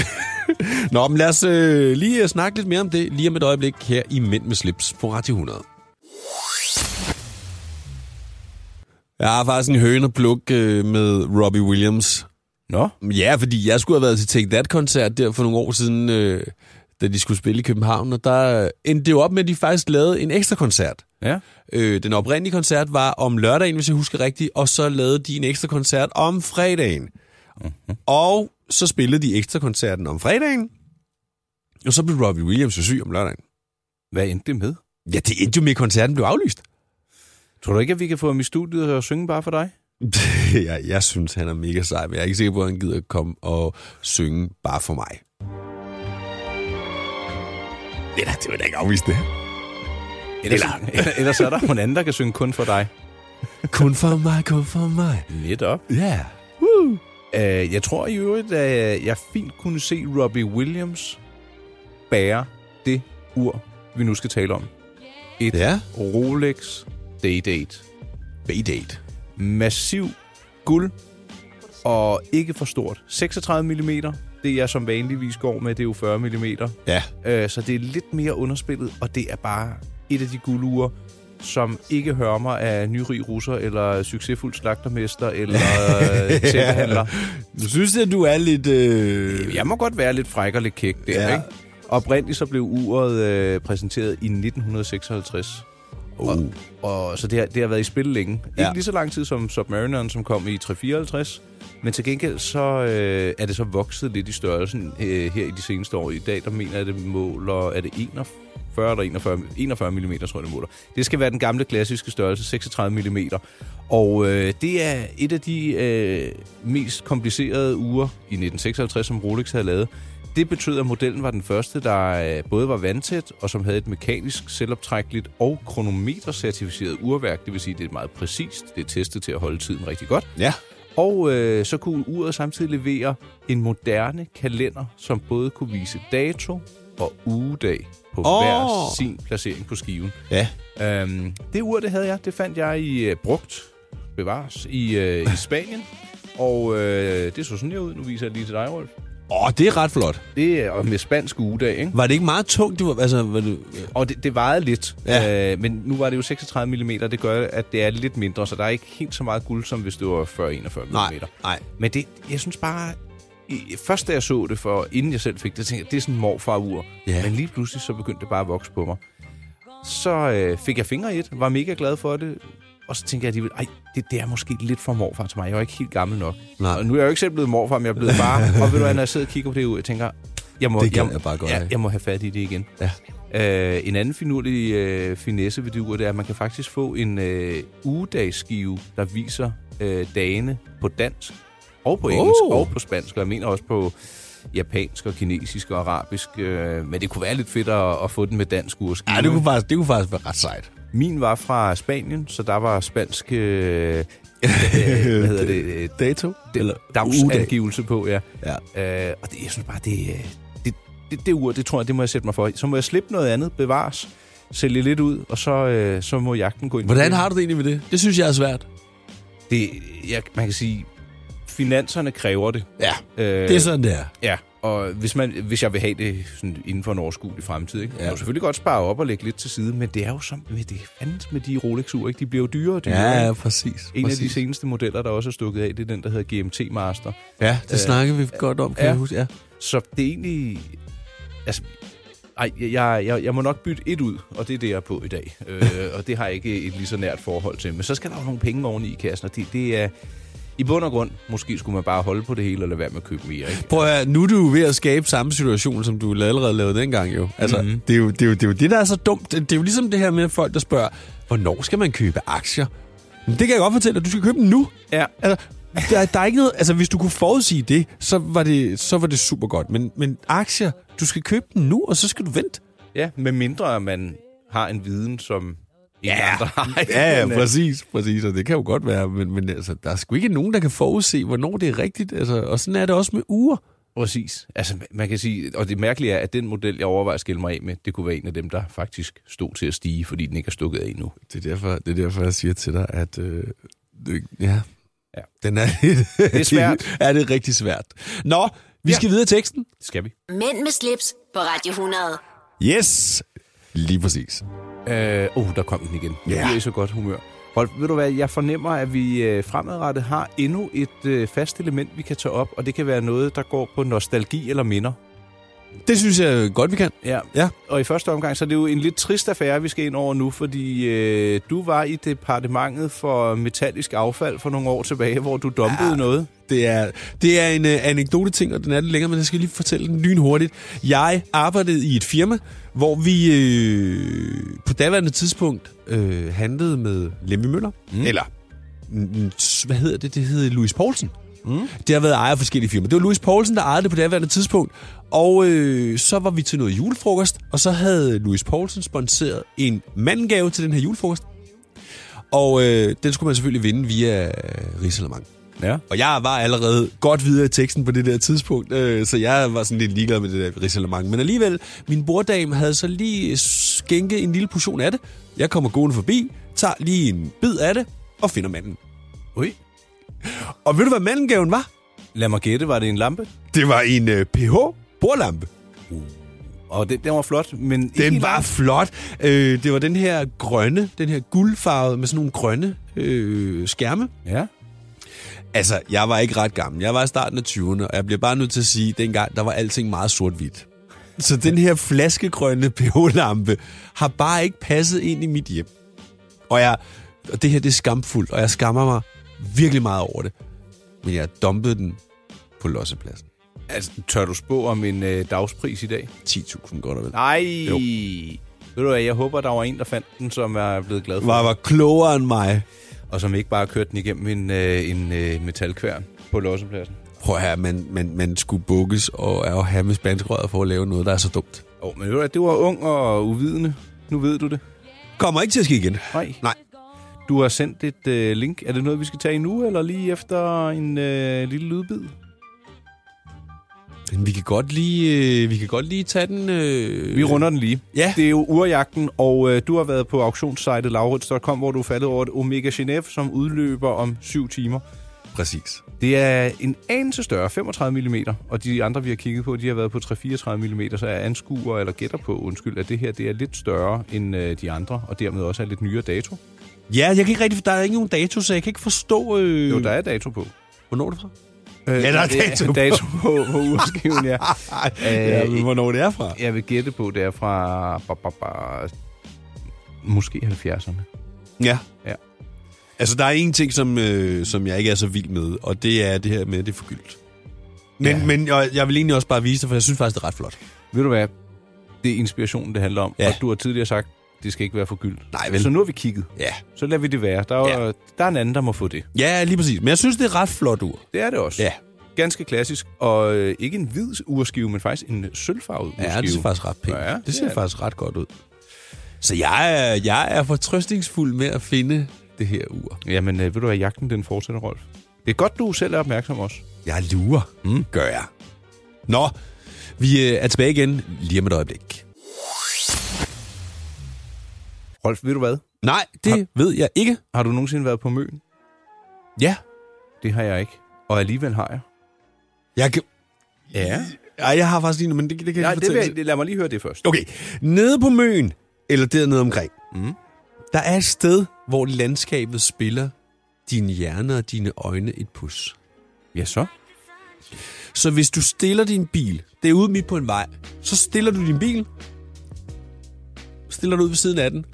Nå, men lad os øh, lige øh, snakke lidt mere om det lige om et øjeblik her i Mænd med slips på Radio 100. Jeg har faktisk en høne at plukke øh, med Robbie Williams. Nå, Ja, fordi jeg skulle have været til Take That-koncert der for nogle år siden, øh, da de skulle spille i København, og der endte det jo op med, at de faktisk lavede en ekstra koncert. ja. Øh, den oprindelige koncert var om lørdagen, hvis jeg husker rigtigt, og så lavede de en ekstra koncert om fredagen. Mm-hmm. Og så spillede de ekstra koncerten om fredagen, og så blev Robbie Williams jo syg om lørdagen. Hvad endte det med? Ja, det endte jo med, at koncerten blev aflyst. Tror du ikke, at vi kan få ham i studiet og synge bare for dig? jeg, jeg synes, han er mega sej, men jeg er ikke sikker på, at han gider komme og synge bare for mig. Det er da- det vil jeg da ikke afvise det. Ellers, ellers er der nogen anden, der kan synge kun for dig. Kun for mig, kun for mig. Netop. Ja. Yeah. Uh, jeg tror i øvrigt, at jeg fint kunne se Robbie Williams bære det ur, vi nu skal tale om. Et Ja. Rolex Day-Date. Baydate. Massiv guld og ikke for stort. 36 mm, det jeg som vanligvis går med, det er jo 40 mm. Uh, Ja. så det er lidt mere underspillet, og det er bare et af de guldure, som ikke hører mig af nyrig russer, eller succesfuld slagtermester, eller øh, tæppehandler. Du synes, at du er lidt... Øh... Jeg må godt være lidt fræk og lidt kæk der, Ja. ja. ikke? Oprindeligt så blev uret øh, præsenteret i 1956. Oh. Og så det har, det har været i spil længe. Ikke Ja. lige så lang tid som Submarineren, som kom i 354. Men til gengæld så øh, er det så vokset lidt i størrelsen øh, her i de seneste år. I dag, der mener jeg, det måler... Er det 41 eller 41, 41 mm, tror jeg, det måler. Det skal være den gamle klassiske størrelse, 36 mm. Og øh, det er et af de øh, mest komplicerede uger i 1956, som Rolex havde lavet. Det betød, at modellen var den første, der øh, både var vandtæt, og som havde et mekanisk, selvoptrækkeligt og kronometercertificeret urværk. Det vil sige, at det er meget præcist. Det er testet til at holde tiden rigtig godt. Ja. Og øh, så kunne uret samtidig levere en moderne kalender, som både kunne vise dato og ugedag på oh. hver Åh. sin placering på skiven. Ja. Øhm, det ur, det havde jeg, det fandt jeg i øh, brugt, bevares, i, øh, i Spanien. Og øh, det så sådan her ud. Nu viser jeg det lige til dig, Rolf. Åh, det er ret flot. Det er og med spansk ugedag, ikke? Var det ikke meget tungt? Du var, altså, var det, Og det, det vejede lidt, Ja. ja. øh, men nu var det jo 36 mm, det gør, at det er lidt mindre, så der er ikke helt så meget guld, som hvis det var 40-41 mm. nej, nej. Men det, jeg synes bare, i- først da jeg så det, for inden jeg selv fik det, tænkte jeg, det er sådan en morfar-ur. Ja. Men lige pludselig, så begyndte det bare at vokse på mig. Så øh, fik jeg fingre i et, var mega glad for det, og så tænkte jeg alligevel, ej, det, det er måske lidt for morfar til mig. Jeg er jo ikke helt gammel nok. Nej. Og nu er jeg jo ikke selv blevet morfar, men jeg er blevet far. og ved du hvad, når jeg sidder og kigger på det ud, jeg tænker, jeg må, Det gad jeg, jeg bare godt ja, have. jeg må have fat i det igen. Ja. Øh, en anden finurlig øh, finesse ved det ur, det er, at man kan faktisk få en øh, ugedagsskive, der viser øh, dagene på dansk, og på engelsk, Oh. og på spansk, og jeg mener også på japansk, og kinesisk og arabisk. Øh, men det kunne være lidt fedt at, at få den med dansk urskive. Ja, det kunne faktisk, det kunne faktisk være ret sejt. Min var fra Spanien, så der var spansk... Øh, øh, hvad hedder det? Øh, Dato? Eller ugedag? dagsangivelse på, ja. Ja. Øh, og det, jeg synes bare, det, øh, det, det, det ur, det tror jeg, det må jeg sætte mig for. Så må jeg slippe noget andet, bevares, sælge lidt ud, og så, øh, så må jagten gå ind. Hvordan har du det egentlig med det? Det synes jeg er svært. det? Jeg, man kan sige, finanserne kræver det. Ja, Øh, det er sådan, det er. Ja, og hvis, man, hvis jeg vil have det sådan inden for en overskuelig fremtid, ikke? Ja. Jeg kan jo selvfølgelig godt spare op og lægge lidt til side, men det er jo som med det fandt med de Rolex-ure, ikke? De bliver jo dyrere og dyrere. Ja, ikke? ja, præcis. En af præcis. de seneste modeller, der også er stukket af, det er den, der hedder GMT Master. Ja, det øh, snakker vi godt om, kan ja. ja. jeg huske. Ja. Så det er egentlig... Altså, ej, jeg, jeg, jeg må nok bytte et ud, og det er det, jeg er på i dag. Øh, og det har jeg ikke et lige så nært forhold til. Men så skal der jo nogle penge oveni i kassen, og det, det er... I bund og grund, måske skulle man bare holde på det hele og lade være med at købe mere, ikke? Prøv at høre, nu er du ved at skabe samme situation, som du allerede lavede dengang jo. Altså, mm-hmm. det, er jo, det, er jo, det er jo det, der er så dumt. Det er jo ligesom det her med folk, der spørger, hvornår skal man købe aktier? Men det kan jeg godt fortælle dig, du skal købe dem nu. Ja. Altså, der, der er ikke noget, altså, hvis du kunne forudsige det, så var det, så var det super godt. Men, men aktier, du skal købe dem nu, og så skal du vente. Ja, med mindre man har en viden, som ja. andre har. ikke? Ja, ja, Men, øh, præcis, præcis, og det kan jo godt være, men, men altså, der er sgu ikke nogen, der kan forudse, hvornår det er rigtigt, altså, og sådan er det også med uger. Præcis. Altså, man kan sige, og det mærkelige er, at den model, jeg overvejer at skille mig af med, det kunne være en af dem, der faktisk stod til at stige, fordi den ikke er stukket af endnu. Det er derfor, det er derfor jeg siger til dig, at øh, det- ja, Ja. ja, den er lidt... Det er svært. er det rigtig svært. Nå, vi Ja. ja. skal videre i teksten. Skal vi? Mænd med slips på Radio 100. Yes, lige præcis. Øh, oh, der kom den igen. Jeg Ja. yeah. er i så godt humør. Hold, ved du hvad, jeg fornemmer, at vi øh, fremadrettet har endnu et øh, fast element, vi kan tage op, og det kan være noget, der går på nostalgi eller minder. Det synes jeg godt, vi kan. Ja. Ja. Og i første omgang, så er det jo en lidt trist affære, vi skal ind over nu, fordi øh, du var i departementet for metallisk affald for nogle år tilbage, hvor du dumpede ja. noget. Det er, det er en øh, anekdote-ting, og den er lidt længere, men jeg skal lige fortælle den lynhurtigt. Jeg arbejdede i et firma, hvor vi øh, på daværende tidspunkt øh, handlede med Lemmy Møller. Mm. Eller, mm, s- hvad hedder det? Det hedder Louis Poulsen. Mm. Det har været ejer af forskellige firmaer. Det var Louis Poulsen, der ejede det på daværende tidspunkt. Og øh, så var vi til noget julefrokost, og så havde Louis Poulsen sponsoreret en mandgave til den her julefrokost. Og øh, den skulle man selvfølgelig vinde via Rigsalermang. Ja. Og jeg var allerede godt videre i teksten på det der tidspunkt, øh, så jeg var sådan lidt ligeglad med det der risalemang. Men alligevel, min borddame havde så lige skænket en lille portion af det. Jeg kommer gående forbi, tager lige en bid af det og finder manden. Ui. Og ved du, hvad mandengaven var? Lad mig gætte, var det en lampe? Det var en øh, pH-bordlampe. Og den, den var flot, men... ikke en Den var lampe. flot. Øh, det var den her grønne, den her guldfarvede med sådan nogle grønne øh, skærme. Ja. Altså, jeg var ikke ret gammel. Jeg var i starten af 20'erne, og jeg bliver bare nødt til at sige, at dengang, der var alting meget sort-hvidt. Så den her flaskegrønne pH-lampe har bare ikke passet ind i mit hjem. Og, jeg, og det her, det er skamfuldt, og jeg skammer mig virkelig meget over det. Men jeg dumpede den på lossepladsen. Altså, tør du spå om en øh, dagspris i dag? 10.000 godt og vel. Nej. Jo. Ved du hvad, jeg håber, der var en, der fandt den, som er blevet glad for Var, den, var klogere end mig. og som ikke bare kørte den igennem en, øh, en øh, metalkværn på lossepladsen. Prøv her, man, man, man skulle bukkes og er jo have med spanskrøret for at lave noget, der er så dumt. Åh, men ved du hvad, du var ung og uvidende. Nu ved du det. Kommer ikke til at ske igen. Nej. Nej. Du har sendt et øh, link. Er det noget, vi skal tage nu, eller lige efter en øh, lille lydbid? Men vi kan godt lige, øh, vi kan godt lige tage den... Øh, Vi runder den lige. Ja. Det er jo urjagten, og øh, du har været på auktionssejtet lavrits.com, hvor du er faldet over et Omega Genève, som udløber om 7 timer. Præcis. Det er en anelse større, 35 mm, og de andre, vi har kigget på, de har været på 3-34 mm, så jeg anskuer eller gætter på, undskyld, at det her det er lidt større end øh, de andre, og dermed også er lidt nyere dato. Ja, jeg kan ikke rigtig... Der er ikke nogen dato, så jeg kan ikke forstå... Øh, Jo, der er dato på. Hvornår er det fra? Øh, Ja, der er det dato på. dato på, på urskiven, ja. Ej, ja, men hvornår det er fra? Jeg vil gætte på, det er fra ba, ba, ba, måske 70'erne. Ja. Ja. Altså, der er en ting, som, øh, som jeg ikke er så vild med, og det er det her med, at det er forgyldt. Men, Ja. ja. men og jeg vil egentlig også bare vise det, for jeg synes faktisk, det er ret flot. Ved du hvad? Det er inspirationen, det handler om. Ja. Og du har tidligere sagt, det skal ikke være for gyld. Nej, vel. Så nu har vi kigget. Ja. Så lader vi det være. Der er, ja. der er en anden, der må få det. Ja, lige præcis. Men jeg synes, det er et ret flot ur. Det er det også. Ja. Ganske klassisk. Og øh, ikke en hvid urskive, men faktisk en sølvfarvet urskive. Ja, det ser faktisk ret pænt. Ja, Ja, det det ser er det. faktisk ret godt ud. Så jeg er, jeg er fortrøstningsfuld med at finde det her ur. Jamen, øh, ved du hvad, jagten den fortsætter, Rolf. Det er godt, du selv er opmærksom også. Jeg lurer, mm. gør jeg. Nå, vi øh, er tilbage igen lige om et øjeblik. Rolf, ved du hvad? Nej, det Har- ved jeg ikke. Har du nogensinde været på Møn? Ja. Det har jeg ikke. Og alligevel har jeg. Jeg kan... Ja. Ej, jeg har faktisk lige nu, men det, det kan jeg Nej, ikke det vil, fortælle. jeg- det- lad mig lige høre det først. Okay, nede på Møn, eller dernede omkring, mm. der er et sted, hvor landskabet spiller din hjerne og dine øjne et pus. Ja, så. Så hvis du stiller din bil, det er ude midt på en vej, så stiller du din bil, stiller du ud ved siden af den,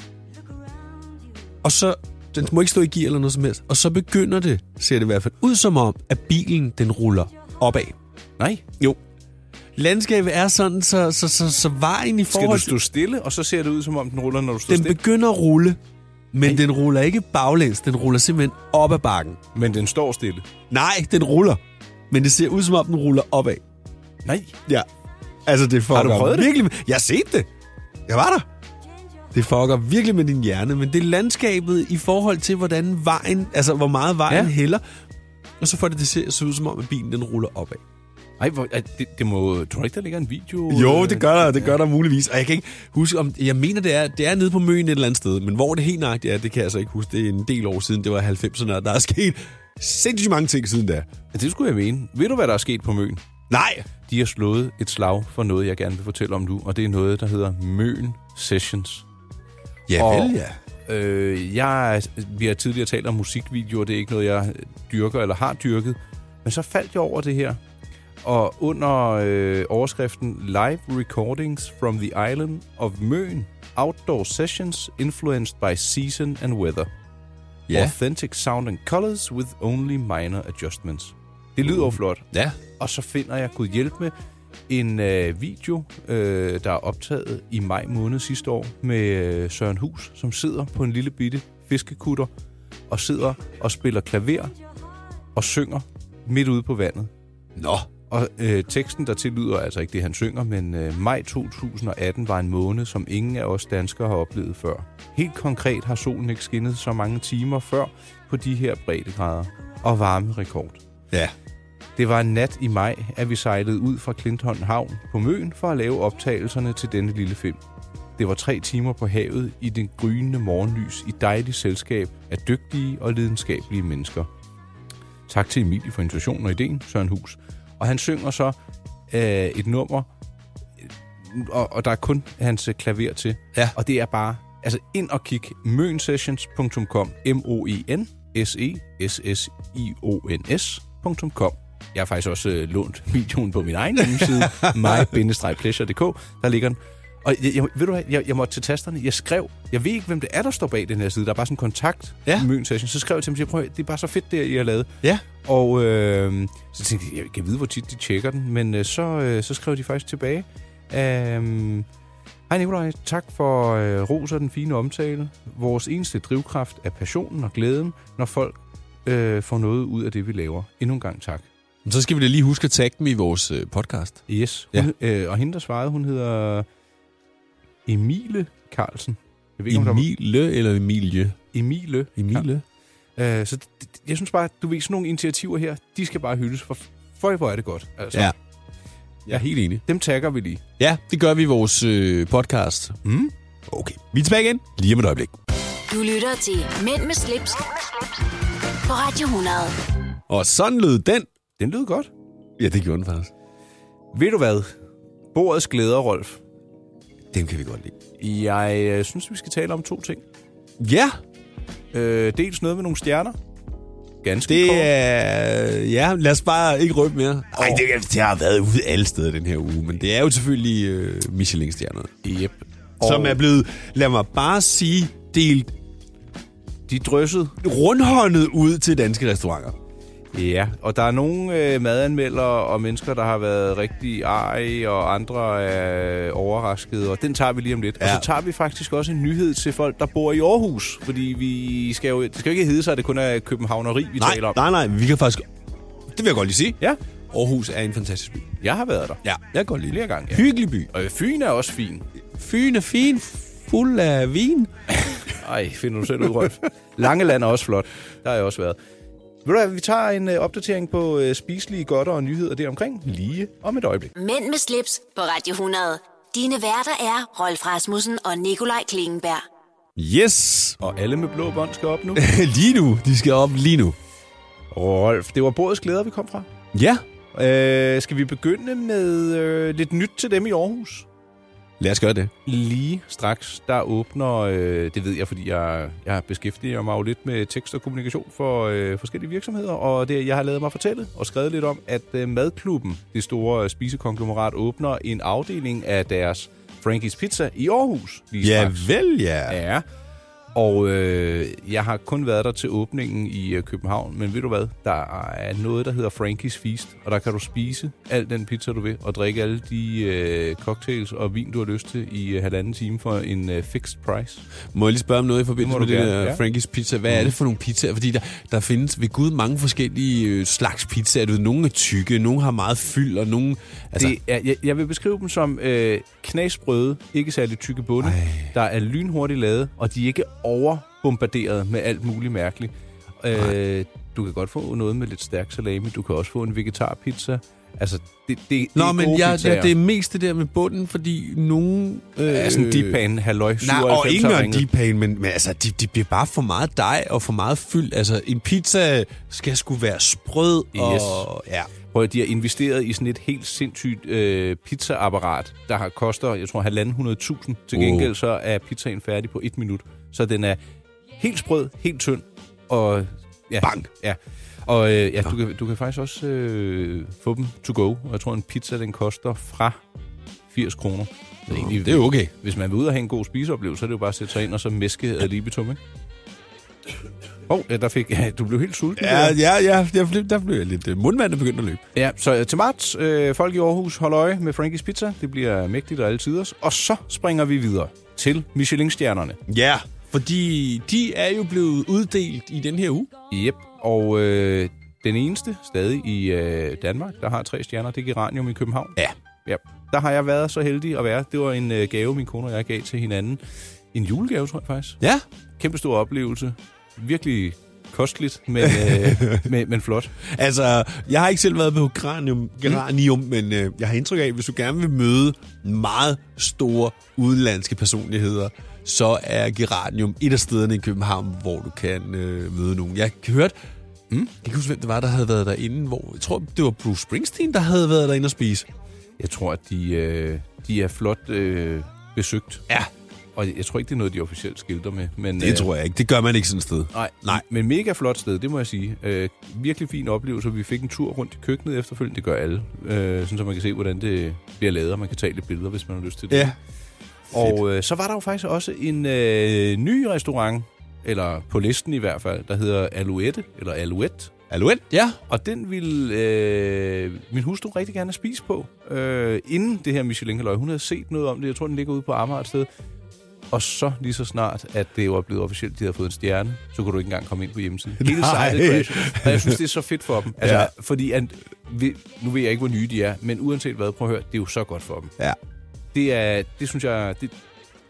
og så, den må ikke stå i gear eller noget som helst, og så begynder det, ser det i hvert fald ud som om, at bilen, den ruller opad. Nej. Jo. Landskabet er sådan, så, så, så, så vejen i Skal du forhold til... stå stille, og så ser det ud, som om den ruller, når du står Den stille? begynder at rulle, men den ruller ikke baglæns, den ruller simpelthen op ad bakken. Men den står stille. Nej, den ruller, men det ser ud som om, den ruller opad. Nej. Ja. Altså, det fucker du prøvet det? virkelig. Det? Jeg har set det. Jeg var der. Det fucker virkelig med din hjerne, men det er landskabet i forhold til, hvordan vejen, altså hvor meget vejen ja. Ja. hælder. Og så får det, det til at se ud som om, at bilen den ruller opad. Nej, hvor, ej, det, det må... Tror du ikke, der ligger en video? Jo, øh, det gør der, det gør der muligvis. Og jeg kan ikke huske, om jeg mener, det er, det er nede på Møen et eller andet sted, men hvor det helt nøjagtigt er, det kan jeg altså ikke huske. Det er en del år siden, det var 90'erne, og der er sket sindssygt mange ting siden da. Det skulle jeg mene. Ved du, hvad der er sket på Møn? Nej! De har slået et slag for noget, jeg gerne vil fortælle om nu, og det er noget, der hedder Møn Sessions. Ja, Og- vel, ja. Øh, jeg, vi har tidligere talt om musikvideoer, det er ikke noget, jeg dyrker eller har dyrket. Men så faldt jeg over det her, og under øh, overskriften Live Recordings from the Island of Møn, Outdoor Sessions Influenced by Season and Weather. Ja. Authentic Sound and Colors with Only Minor Adjustments. Det lyder Mm. jo flot. Ja. Og så finder jeg, Gud hjælp med, en øh, video, øh, der er optaget i maj måned sidste år med øh, Søren Hus, som sidder på en lille bitte fiskekutter og sidder og spiller klaver og synger midt ude på vandet. Nå. Og øh, teksten der tillyder altså ikke det, han synger, men øh, maj 2018 var en måned, som ingen af os danskere har oplevet før. Helt konkret har solen ikke skinnet så mange timer før på de her breddegrader og varmerekord. Ja. Det var en nat i maj, at vi sejlede ud fra Klintholm Havn på Møn for at lave optagelserne til denne lille film. Det var tre timer på havet i den grynende morgenlys i dejligt selskab af dygtige og lidenskabelige mennesker. Tak til Emilie for invitationen og ideen, Søren Hus. Og han synger så øh, et nummer, øh, og, og der er kun hans øh, klaver til. Ja. Og det er bare, altså ind og kig, mønsessions.com, M-O-E-N, E S-E-S-S-I-O-N-S.com. Jeg har faktisk også øh, lånt videoen på min egen hjemmeside, my-pleasure.dk, der ligger den. Og jeg, jeg, ved du hvad, jeg, jeg måtte til tasterne, jeg skrev, jeg ved ikke, hvem det er, der står bag den her side, der er bare sådan en kontakt, Ja. ja. Møn Session, så skrev jeg til dem, siger, prøv at høre, det er bare så fedt, det I har lavet. Ja. Og øh, så tænkte jeg, jeg kan vide, hvor tit de tjekker den, men øh, så, øh, så skrev de faktisk tilbage. Øhm, Hej Nikolaj, tak for øh, ros og den fine omtale. Vores eneste drivkraft er passionen og glæden, når folk øh, får noget ud af det, vi laver. Endnu en gang tak. Men Så skal vi da lige huske at tagge dem i vores øh, podcast. Yes. Ja. Hun, øh, og hende, der svarede, hun hedder Emile Carlsen. Jeg ved ikke, om der Emile eller Emilie? var... Emile. Emile? Øh, så d- d- jeg synes bare, du ved, sådan nogle initiativer her, de skal bare hyldes, for for hvor er det godt. Altså, Ja. Jeg er helt enig. Dem tagger vi lige. Ja, det gør vi i vores øh, podcast. Mm. Okay. Vi er tilbage igen lige om et øjeblik. Du lytter til Mænd med slips, på Radio 100. Og sådan lød den. Den lød godt. Ja, det gjorde den faktisk. Ved du hvad? Bordets glæder, Rolf. Den kan vi godt lide. Jeg øh, synes, vi skal tale om to ting. Ja, Øh, dels noget med nogle stjerner. Ganske Det kort. er... Ja, lad os bare ikke røbe mere. Nej, det, det har været ude alle steder den her uge, men det er jo selvfølgelig øh, Michelin-stjernerne. Yep. Og... Som er blevet, lad mig bare sige, delt De er drysset. rundhåndet ud til danske restauranter. Ja, og der er nogle øh, madanmeldere og mennesker, der har været rigtig arge, og andre er øh, overraskede, og den tager vi lige om lidt. Ja. Og Ja. så tager vi faktisk også en nyhed til folk, der bor i Aarhus, fordi vi skal jo, det skal jo ikke hedde sig, at det kun er københavneri, vi Nej, taler om. nej, nej, vi kan faktisk... Det vil jeg godt lige sige. Ja, Aarhus er en fantastisk by. jeg har været der. Ja, jeg kan godt lide Flere det. gange, ja. Hyggelig by. Og Fyn er også fin. Fyn er fin, fuld af vin. Ej, finder du selv ud, Rolf. Langeland er også flot. Der har jeg også været. Ved du hvad, vi tager en øh, opdatering på øh, spiselige godter og nyheder deromkring lige om et øjeblik. Mænd med slips på Radio 100. Dine værter er Rolf Rasmussen og Nikolaj Klingenberg. Yes. Og alle med blå bånd skal op nu. lige nu. De skal op lige nu. Rolf, det var bordets glæder, vi kom fra. Ja. Øh, skal vi begynde med øh, lidt nyt til dem i Aarhus? Lad os gøre det. Lige straks, der åbner, øh, det ved jeg, fordi jeg, jeg beskæftiger mig jo lidt med tekst og kommunikation for øh, forskellige virksomheder, og det jeg har lavet mig fortælle og skrevet lidt om, at øh, Madklubben, det store øh, spisekonglomerat, åbner en afdeling af deres Frankie's Pizza i Aarhus. Lige Ja, straks. vel ja. ja. Ja. Og øh, jeg har kun været der til åbningen i øh, København, men ved du hvad? Der er noget, der hedder Frankie's Feast, og der kan du spise al den pizza, du vil, og drikke alle de øh, cocktails og vin, du har lyst til i øh, halvanden time for en øh, fixed price. Må jeg lige spørge om noget i forbindelse Det må med du det gerne, der ja. ja. Mm. Frankie's Pizza? Hvad er det for nogle pizzaer? Fordi der, der findes ved Gud mange forskellige øh, slags pizzaer. Du ved, nogle er tykke, nogle har meget fyld, og nogle... Altså, Altså. det... Det er, jeg, jeg vil beskrive dem som øh, knasbrøde, ikke særlig tykke bunde, Ej. Ej. der er lynhurtigt lavet, og de er ikke overbombarderet med alt muligt mærkeligt. Øh, du kan godt få noget med lidt stærk salami, du kan også få en vegetarpizza. Altså, det, det, det Nå, er men gode jeg, pizzaer. ja, det er mest det der med bunden, fordi nogen... Øh, er Altså, sådan en deep pan, halløj, Nej, og 97 ikke engang ringet. deep pan, men, men altså, de, de bliver bare for meget dej og for meget fyld. Altså, en pizza skal sgu være sprød Yes. og... Ja. Prøv at de har investeret i sådan et helt sindssygt øh, pizzaapparat, der har koster, jeg tror, 1.500.000. Til Wow. gengæld så er pizzaen færdig på et minut. Så den er helt sprød, helt tynd, og... Ja, Bang! Ja. Og øh, ja, du, kan, du kan faktisk også øh, få dem to go. Og jeg tror, en pizza, den koster fra 80 kroner. Så egentlig, Det er okay. Hvis man vil ud og have en god spiseoplevelse, så er det jo bare at sætte sig ind og så mæske ad libitum, ikke? Åh, oh, ja, der fik... Ja, du blev helt sulten. Ja, der. ja, ja. Der blev, der blev jeg lidt... øh, Mundvandet begyndte at løbe. Ja, så øh, til marts, øh, folk i Aarhus, hold øje med Frankies Pizza. Det bliver mægtigt og alle tiders. Og så springer vi videre til Michelin-stjernerne. Ja, fordi de er jo blevet uddelt i den her uge. Yep. Og øh, den eneste stadig i øh, Danmark, der har tre stjerner, det er Geranium i København. Ja. Ja. Der har jeg været så heldig at være. Det var en øh, gave, min kone og jeg gav til hinanden. En julegave, tror jeg faktisk. Ja. Kæmpe stor oplevelse. Virkelig kosteligt, men, øh, men, men flot. Altså, jeg har ikke selv været på Granium, granium mm. men øh, jeg har indtryk af, at hvis du gerne vil møde meget store udenlandske personligheder, så er Geranium et af stederne i København, hvor du kan øh, møde nogen. Jeg hørte, mm. jeg kan ikke huske, hvem det var, der havde været derinde, hvor jeg tror, det var Bruce Springsteen, der havde været derinde og spise. Jeg tror, at de, øh, de er flot øh, besøgt. Ja, Og jeg tror ikke, det er noget, de officielt skilter med. Men, det tror jeg ikke. Det gør man ikke sådan et sted. Nej, nej, Nej. men mega flot sted, det må jeg sige. Øh, virkelig fin oplevelse. Vi fik en tur rundt i køkkenet efterfølgende. Det gør alle. Øh, sådan, så man kan se, hvordan det bliver lavet, og man kan tage lidt billeder, hvis man har lyst til det. Ja. og øh, så var der jo faktisk også en øh, ny restaurant, eller på listen i hvert fald, der hedder Alouette, eller Alouette. Alouette? Ja. Og den ville øh, min hustru rigtig gerne spise på, øh, inden det her michelin -halløj. Hun havde set noget om det. Jeg tror, den ligger ude på Amager et sted. Og så lige så snart, at det var blevet officielt, de havde fået en stjerne, så kunne du ikke engang komme ind på hjemmesiden. Hele Nej. sitet crashed. Og jeg synes, det er så fedt for dem. Altså, ja. Ja. Fordi, at, vi- nu ved jeg ikke, hvor nye de er, men uanset hvad, prøv at høre, det er jo så godt for dem. Ja. Det, er, det synes jeg... Det,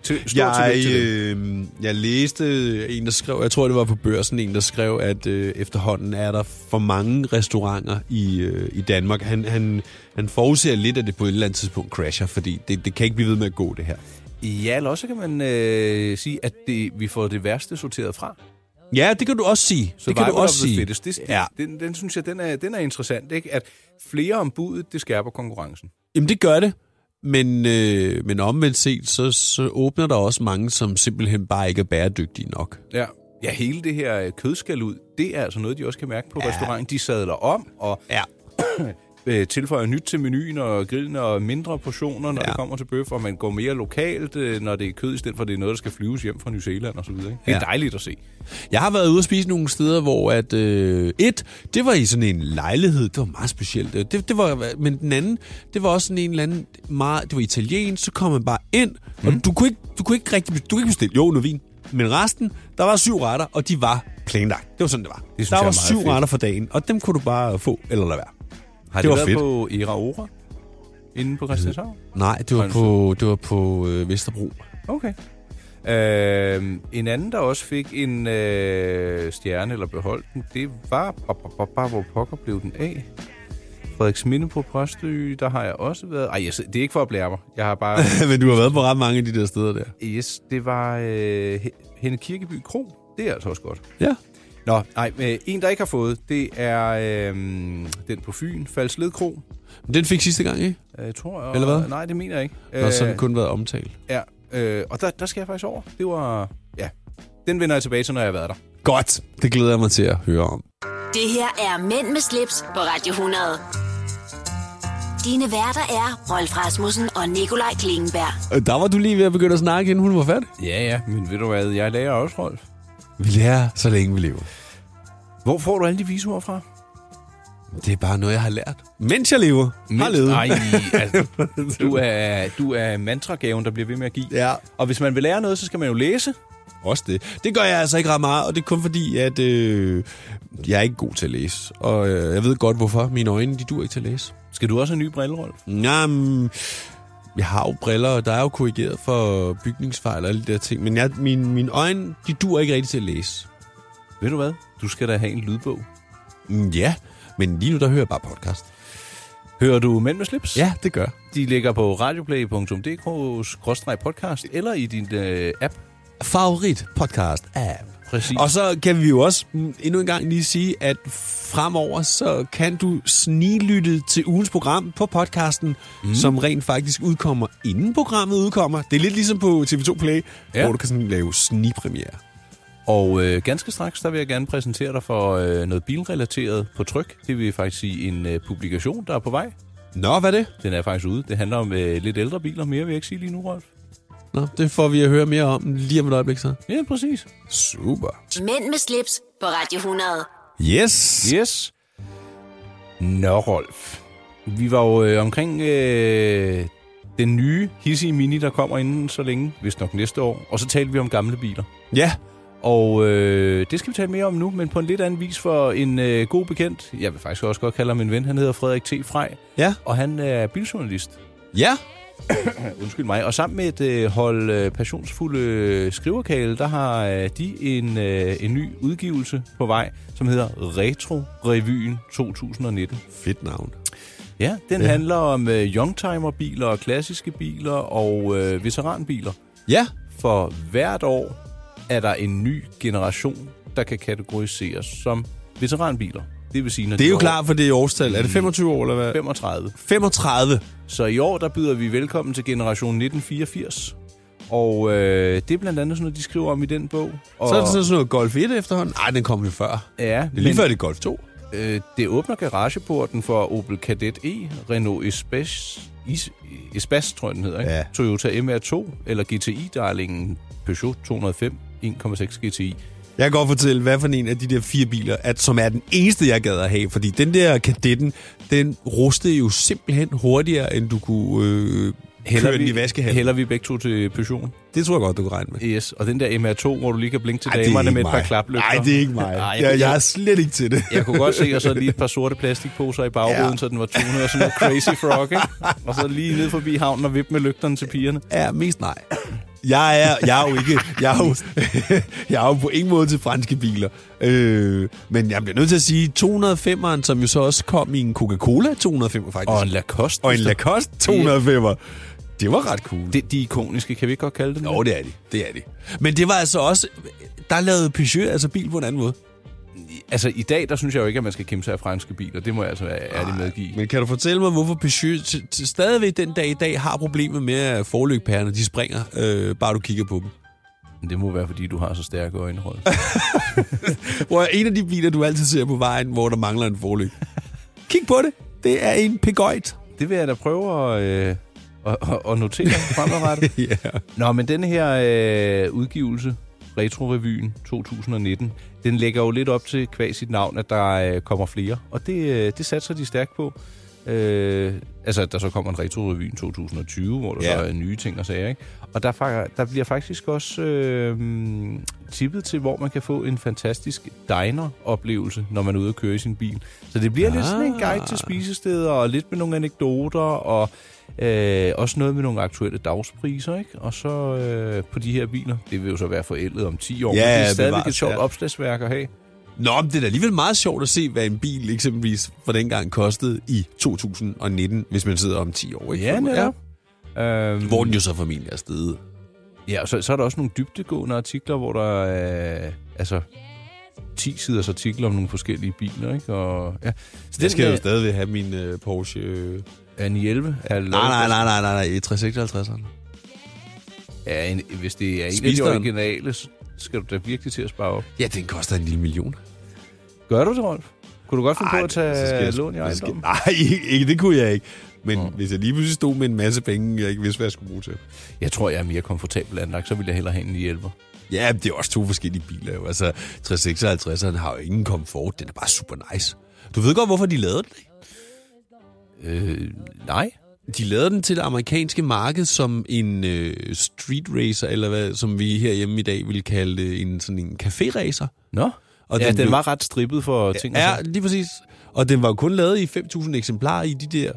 til, stort Jeg, tillykke til dem. øh, jeg læste en, der skrev, jeg tror, det var på børsen, en, der skrev, at øh, efterhånden er der for mange restauranter i, øh, i Danmark. Han, han, han forudser lidt, at det på et eller andet tidspunkt crasher, fordi det, det kan ikke blive ved med at gå, det her. Ja, eller også kan man øh, sige, at det, vi får det værste sorteret fra. Ja, det kan du også sige. det Survival kan du også of the sige. Fittest. Det, ja. Ja. den, den synes jeg, den er, den er interessant, ikke? At flere om budet, det skærper konkurrencen. Jamen, det gør det. Men, øh, men omvendt set, så, så åbner der også mange, som simpelthen bare ikke er bæredygtige nok. Ja. Ja, hele det her øh, kødskal ud, det er altså noget, de også kan mærke på ja. restauranten. De sadler om og Ja. øh, tilføjer nyt til menuen og grillen og mindre portioner, når ja. Ja. det kommer til bøf, og man går mere lokalt, øh, når det er kød, i stedet for at det er noget, der skal flyves hjem fra New Zealand og så videre. Ikke? Det er Ja. dejligt at se. Jeg har været ude og spise nogle steder, hvor at... Øh, et, det var i sådan en lejlighed. Det var meget specielt. Øh, Det, det var, men den anden, det var også sådan en eller anden... Meget, det var italiensk, så kom man bare ind, og du kunne ikke, du kunne ikke rigtig... Du kunne ikke bestille jo noget vin, men resten, der var syv retter, og de var planlagt. Det var sådan, det var. Det synes der jeg var er meget syv fedt. retter for dagen, og dem kunne du bare få eller lade være. Har Det det, var været fedt. på Era Ora? Inde på Christianshavn? Nej, det var Hvordan på, det var på øh, Vesterbro. Okay. Øh, en anden, der også fik en øh, stjerne eller beholdt den, det var... ba- ba- ba- ba- Hvor pokker blev den af? Frederiksminde på Præstø, der har jeg også været... Ej, jeg, sid- det er ikke for at blære mig. Jeg har bare... men du har været på ret mange af de der steder der. yes, det var øh, Henne Kirkeby Kro. Det er altså også godt. Ja. Nå, nej, øh, en, der ikke har fået, det er øh, den på Fyn, Falsled Kro. Men den fik sidste gang, ikke? Øh, tror jeg. Eller hvad? Nej, det mener jeg ikke. Øh. Og så har den kun været omtalt. Ja, øh, og der, der skal jeg faktisk over. Det var... Ja, den vender jeg tilbage til, når jeg har været der. Godt. Det glæder jeg mig til at høre om. Det her er Mænd med slips på Radio 100. Dine værter er Rolf Rasmussen og Nikolaj Klingenberg. Øh, Der var du lige ved at begynde at snakke, inden hun var færdig. Ja, ja, men ved du hvad, jeg lærer også, Rolf. Vi lærer, så længe vi lever. Hvor får du alle de visuer fra? Det er bare noget, jeg har lært. Mens jeg lever. Mens, har levet. Nej, altså, du er, du er mantragaven, der bliver ved med at give. Ja. Og hvis man vil lære noget, så skal man jo læse. Også det. Det gør jeg altså ikke ret meget, og det er kun fordi, at øh, jeg er ikke god til at læse. Og øh, jeg ved godt, hvorfor. Mine øjne, de dur ikke til at læse. Skal du også have nye briller, Rolf? Jamen, jeg har jo briller, og der er jo korrigeret for bygningsfejl og alle de der ting. Men jeg, min, mine øjne, de dur ikke rigtig til at læse. Ved du hvad? Du skal da have en lydbog. Mm, Ja, men lige nu, der hører jeg bare podcast. Hører du Mænd med slips? Ja, det gør De ligger på radioplay.dk-podcast eller i din øh, app. Favorit podcast app. Præcis. Og så kan vi jo også mm, endnu en gang lige sige, at fremover så kan du sniglytte til ugens program på podcasten, mm. som rent faktisk udkommer inden programmet udkommer. Det er lidt ligesom på TV2 Play, Ja. ja. hvor du kan sådan lave snigpremiere. Og øh, ganske straks, der vil jeg gerne præsentere dig for øh, noget bilrelateret på tryk. Det vil faktisk sige en øh, publikation, der er på vej. Nå, hvad er det? Den er faktisk ude. Det handler om øh, lidt ældre biler. Mere vil jeg ikke sige lige nu, Rolf. Nå, det får vi at høre mere om lige om et øjeblik så. Ja, præcis. Super. Mænd med slips på Radio 100. Yes. Yes. Nå, Rolf. Vi var jo øh, omkring øh, den nye Hissy Mini, der kommer inden så længe, hvis nok næste år. Og så talte vi om gamle biler. Ja. Og øh, det skal vi tale mere om nu, men på en lidt anden vis for en øh, god bekendt. Jeg vil faktisk også godt kalde ham en ven. Han hedder Frederik T. Frej, Ja. og han er biljournalist. Ja. Undskyld mig. Og sammen med et øh, hold øh, passionsfulde øh, skriverkale, der har øh, de en, øh, en ny udgivelse på vej, som hedder Retro Revyen 2019. Fedt navn. Ja, den ja. handler om øh, youngtimer-biler og klassiske biler og øh, veteranbiler. Ja. For hvert år er der en ny generation, der kan kategoriseres som veteranbiler. Det vil sige, når Det de er jo år klart for det er årstal. Er det 25 år eller hvad? 35. 35. Så i år, der byder vi velkommen til generation 1984. Og øh, det er blandt andet sådan noget, de skriver om i den bog. Og, Så er det sådan noget Golf 1 efterhånden. Nej, den kom jo før. Ja, Det er lige men- før det er Golf 2. Øh, det åbner garageporten for Opel Kadett E, Renault Espace, Is, Espace tror jeg den hedder, ikke? Ja. Toyota MR2 eller GTI-darlingen Peugeot 205 1,6 GTI. Jeg kan godt fortælle, hvad for en af de der fire biler, at, som er den eneste, jeg gad at have. Fordi den der kadetten, den rustede jo simpelthen hurtigere, end du kunne øh, køre den i vaskehallen. hælder vi begge to til Peugeot. Det tror jeg godt, du kan regne med. Yes, og den der MR2, hvor du lige kan blinke til Ej, det er damerne ikke med et par mig. klaplygter. Ej, det er ikke mig. Ej, jeg, jeg, er slet ikke til det. jeg kunne godt se, og så lige et par sorte plastikposer i bagruden, ja. Ja. så den var tunet og sådan noget crazy frog, ikke? Og så lige ned forbi havnen og vippe med lygterne til pigerne. Ja, mest nej. Jeg er, jeg er jo ikke... Jeg er jo, jeg er jo på ingen måde til franske biler. Øh, men jeg bliver nødt til at sige 205'eren, som jo så også kom i en Coca-Cola 205 faktisk. Og en Lacoste. og en Lacoste 205'er. Det var ret cool. Det, de er ikoniske, kan vi ikke godt kalde dem? Jo, det er de. Det er de. Men det var altså også... Der lavede Peugeot altså bil på en anden måde. Altså, i dag, der synes jeg jo ikke, at man skal kæmpe sig af franske biler. Det må jeg altså være ærlig medgive. Men kan du fortælle mig, hvorfor Peugeot t- t- stadigvæk den dag i dag har problemer med, at forlygtpærerne de springer, øh, bare du kigger på dem? Men det må være, fordi du har så stærke øjne, Rolf. Hvor en af de biler, du altid ser på vejen, hvor der mangler en forlygt. Kig på det. Det er en pegøjt. det vil jeg da prøve at, øh, at, at, at notere fremadrettet. Ja. Nå, men den her øh, udgivelse, Retro-revyen 2019, den lægger jo lidt op til kvæg sit navn, at der øh, kommer flere. Og det, øh, det satser de stærkt på. Øh, altså, at der så kommer en Retro-revyen 2020, hvor der Ja. så er nye ting og sager, ikke? Og der, fa- der bliver faktisk også øh, tippet til, hvor man kan få en fantastisk diner-oplevelse, når man er ude og køre i sin bil. Så det bliver ah. lidt sådan en guide til spisesteder, og lidt med nogle anekdoter, og øh, også noget med nogle aktuelle dagspriser, ikke? Og så øh, på de her biler, det vil jo så være forældet om 10 år, Ja, men det er bevares, stadigvæk et sjovt ja. opslagsværk at have. Nå, men det er da alligevel meget sjovt at se, hvad en bil eksempelvis for dengang kostede i 2019, hvis man sidder om 10 år. Ikke? Ja, netop. Øhm, Hvor den jo så formentlig er stedet. Ja, og så, så er der også nogle dybtegående artikler, hvor der øh, altså 10-siders artikler om nogle forskellige biler, ikke? Og, ja. Så Jeg skal jo der stadigvæk have min øh, Porsche. Øh. er en 11. Nej, Nej, nej, nej, nej, nej, nej, E356'eren. Ja, en, hvis det er en Spis af de den. originale, så skal du da virkelig til at spare op. Ja, den koster en lille million. Gør du det, Rolf? Kunne du godt finde på at så skal tage jeg- lån i så skal- ejendommen? Nej, ikke- ikke, det kunne jeg ikke. Men hvis jeg lige pludselig stod med en masse penge, jeg ikke vidste, hvad jeg skulle bruge til. Jeg tror, jeg er mere komfortabel anlagt, så vil jeg hellere have en 911. Ja, det er også to forskellige biler jo. Altså, 356'eren har jo ingen komfort. Den er bare super nice. Du ved godt, hvorfor de lavede den, ikke? Øh, nej. De lavede den til det amerikanske marked som en øh, street racer, eller hvad, som vi herhjemme i dag ville kalde en, sådan en café racer. Nå. Og Og ja, den den, blev- var ret strippet for ting. altså. og Ja, sager. lige præcis. Og den var jo kun lavet i 5.000 eksemplarer i de der,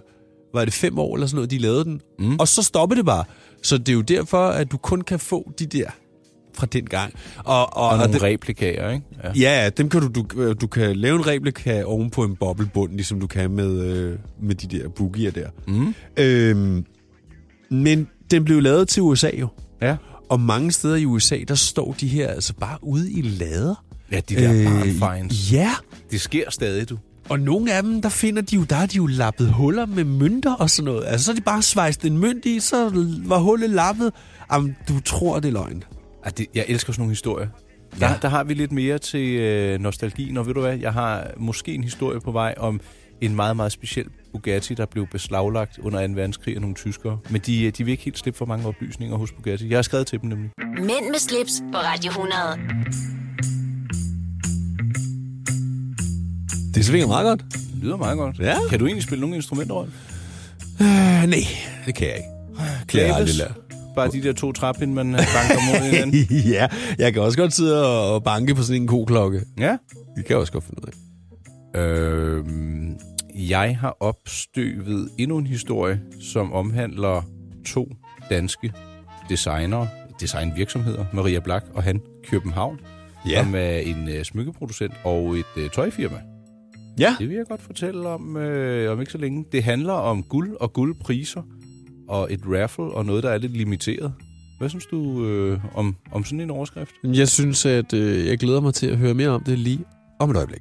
var det fem år eller sådan noget, de lavede den. Mm. Og så stoppede det bare. Så det er jo derfor, at du kun kan få de der fra den gang. Og, og, og nogle det, replikaer, ikke? Ja. Ja, dem kan du, øh, du, du kan lave en replika oven på en boblebund, ligesom du kan med, øh, med de der boogier der. Mm. Øhm, men den blev lavet til USA jo. Ja, Og mange steder i USA, der står de her altså bare ude i lader. ja de der øh, barnfines. ja, Det sker stadig, du. og nogle af dem, der finder de jo, der er de jo lappet huller med mønter og sådan noget. Altså, så er de bare svejst en mønt i, så var hullet lappet. Jamen, du tror, det er løgn. Ej, det, jeg elsker sådan nogle historier. Der, ja. der har vi lidt mere til øh, nostalgien, og ved du hvad, jeg har måske en historie på vej om en meget, meget speciel Bugatti, der blev beslaglagt under 2. verdenskrig af nogle tyskere. Men de, øh, de vil ikke helt slippe for mange oplysninger hos Bugatti. Jeg har skrevet til dem nemlig. Mænd med slips på Radio 100. Det svinger meget godt. Det lyder meget godt. Ja. Kan du egentlig spille nogle instrumenter rundt? Øh, nej, det kan jeg ikke. Det har jeg aldrig lært. Bare de der to træpinde, man øh, banker mod hinanden. ja, jeg kan også godt sidde og og banke på sådan en koklokke. Ja. Det kan jeg også godt finde ud af. Øhm, jeg har opstøvet endnu en historie, som omhandler to danske designere, designvirksomheder, Maria Black og han København, ja. som er en øh, smykkeproducent og et øh, tøjfirma. Ja. Det vil jeg godt fortælle om, øh, om ikke så længe. Det handler om guld og guldpriser og et raffle og noget, der er lidt limiteret. Hvad synes du øh, om, om sådan en overskrift? Jeg synes, at øh, jeg glæder mig til at høre mere om det lige om et øjeblik.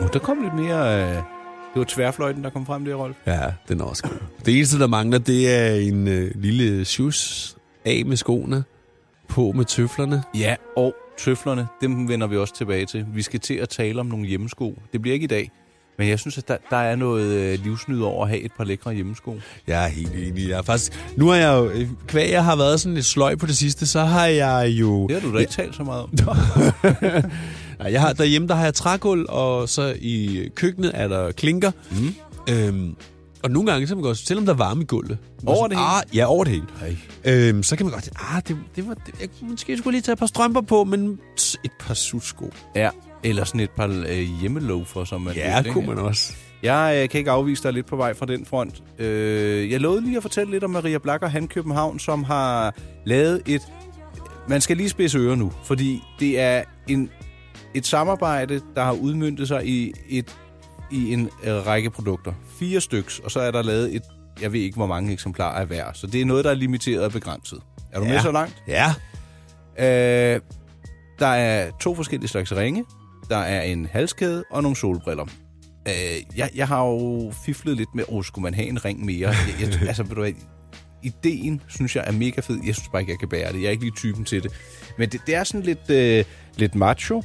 Nu, der kom lidt mere... Øh, det var tværfløjten, der kom frem der, Rolf. Ja, den er også god. Det eneste, der mangler, det er en øh, lille shoes af med skoene, på med tøflerne. Ja, og tøflerne, dem vender vi også tilbage til. Vi skal til at tale om nogle hjemmesko. Det bliver ikke i dag, men jeg synes, at der, der er noget øh, livsnyd over at have et par lækre hjemmesko. Jeg er helt enig. Jeg er faktisk, nu har jeg jo, øh, kvæg jeg har været sådan lidt sløj på det sidste, så har jeg jo... Det har du da ikke talt så meget om. Nej, jeg har, derhjemme der har jeg trægulv, og så i køkkenet er der klinker. Mm. Øhm, og nogle gange, så kan man godt, selvom der er varme i gulvet. Over sådan, det hele? "Ah," Ja, over det hele. Ej. Øhm, så kan man godt sige, ah, det, det var, det, jeg, måske skulle jeg lige tage et par strømper på, men tss, et par sutsko. Ja, eller sådan et par øh, hjemmeloafer, som man Ja, kunne man også. Jeg øh, kan ikke afvise dig lidt på vej fra den front. Øh, jeg lovede lige at fortælle lidt om Maria Black og Han København, som har lavet et... Man skal lige spidse ører nu, fordi det er en, et samarbejde, der har udmyndtet sig i, et, i en øh, række produkter. Fire styks, og så er der lavet et... Jeg ved ikke, hvor mange eksemplarer er hver, så det er noget, der er limiteret og begrænset. Er du ja. med Ja. så langt? Ja. Øh, der er to forskellige slags ringe. Der er en halskæde og nogle solbriller. Øh, jeg, jeg har jo fiflet lidt med, åh, skulle man have en ring mere? Jeg, jeg, altså, ved du hvad, ideen synes jeg er mega fed. Jeg synes bare ikke, jeg kan bære det. Jeg er ikke lige typen til det. Men det, det er sådan lidt, øh, lidt macho.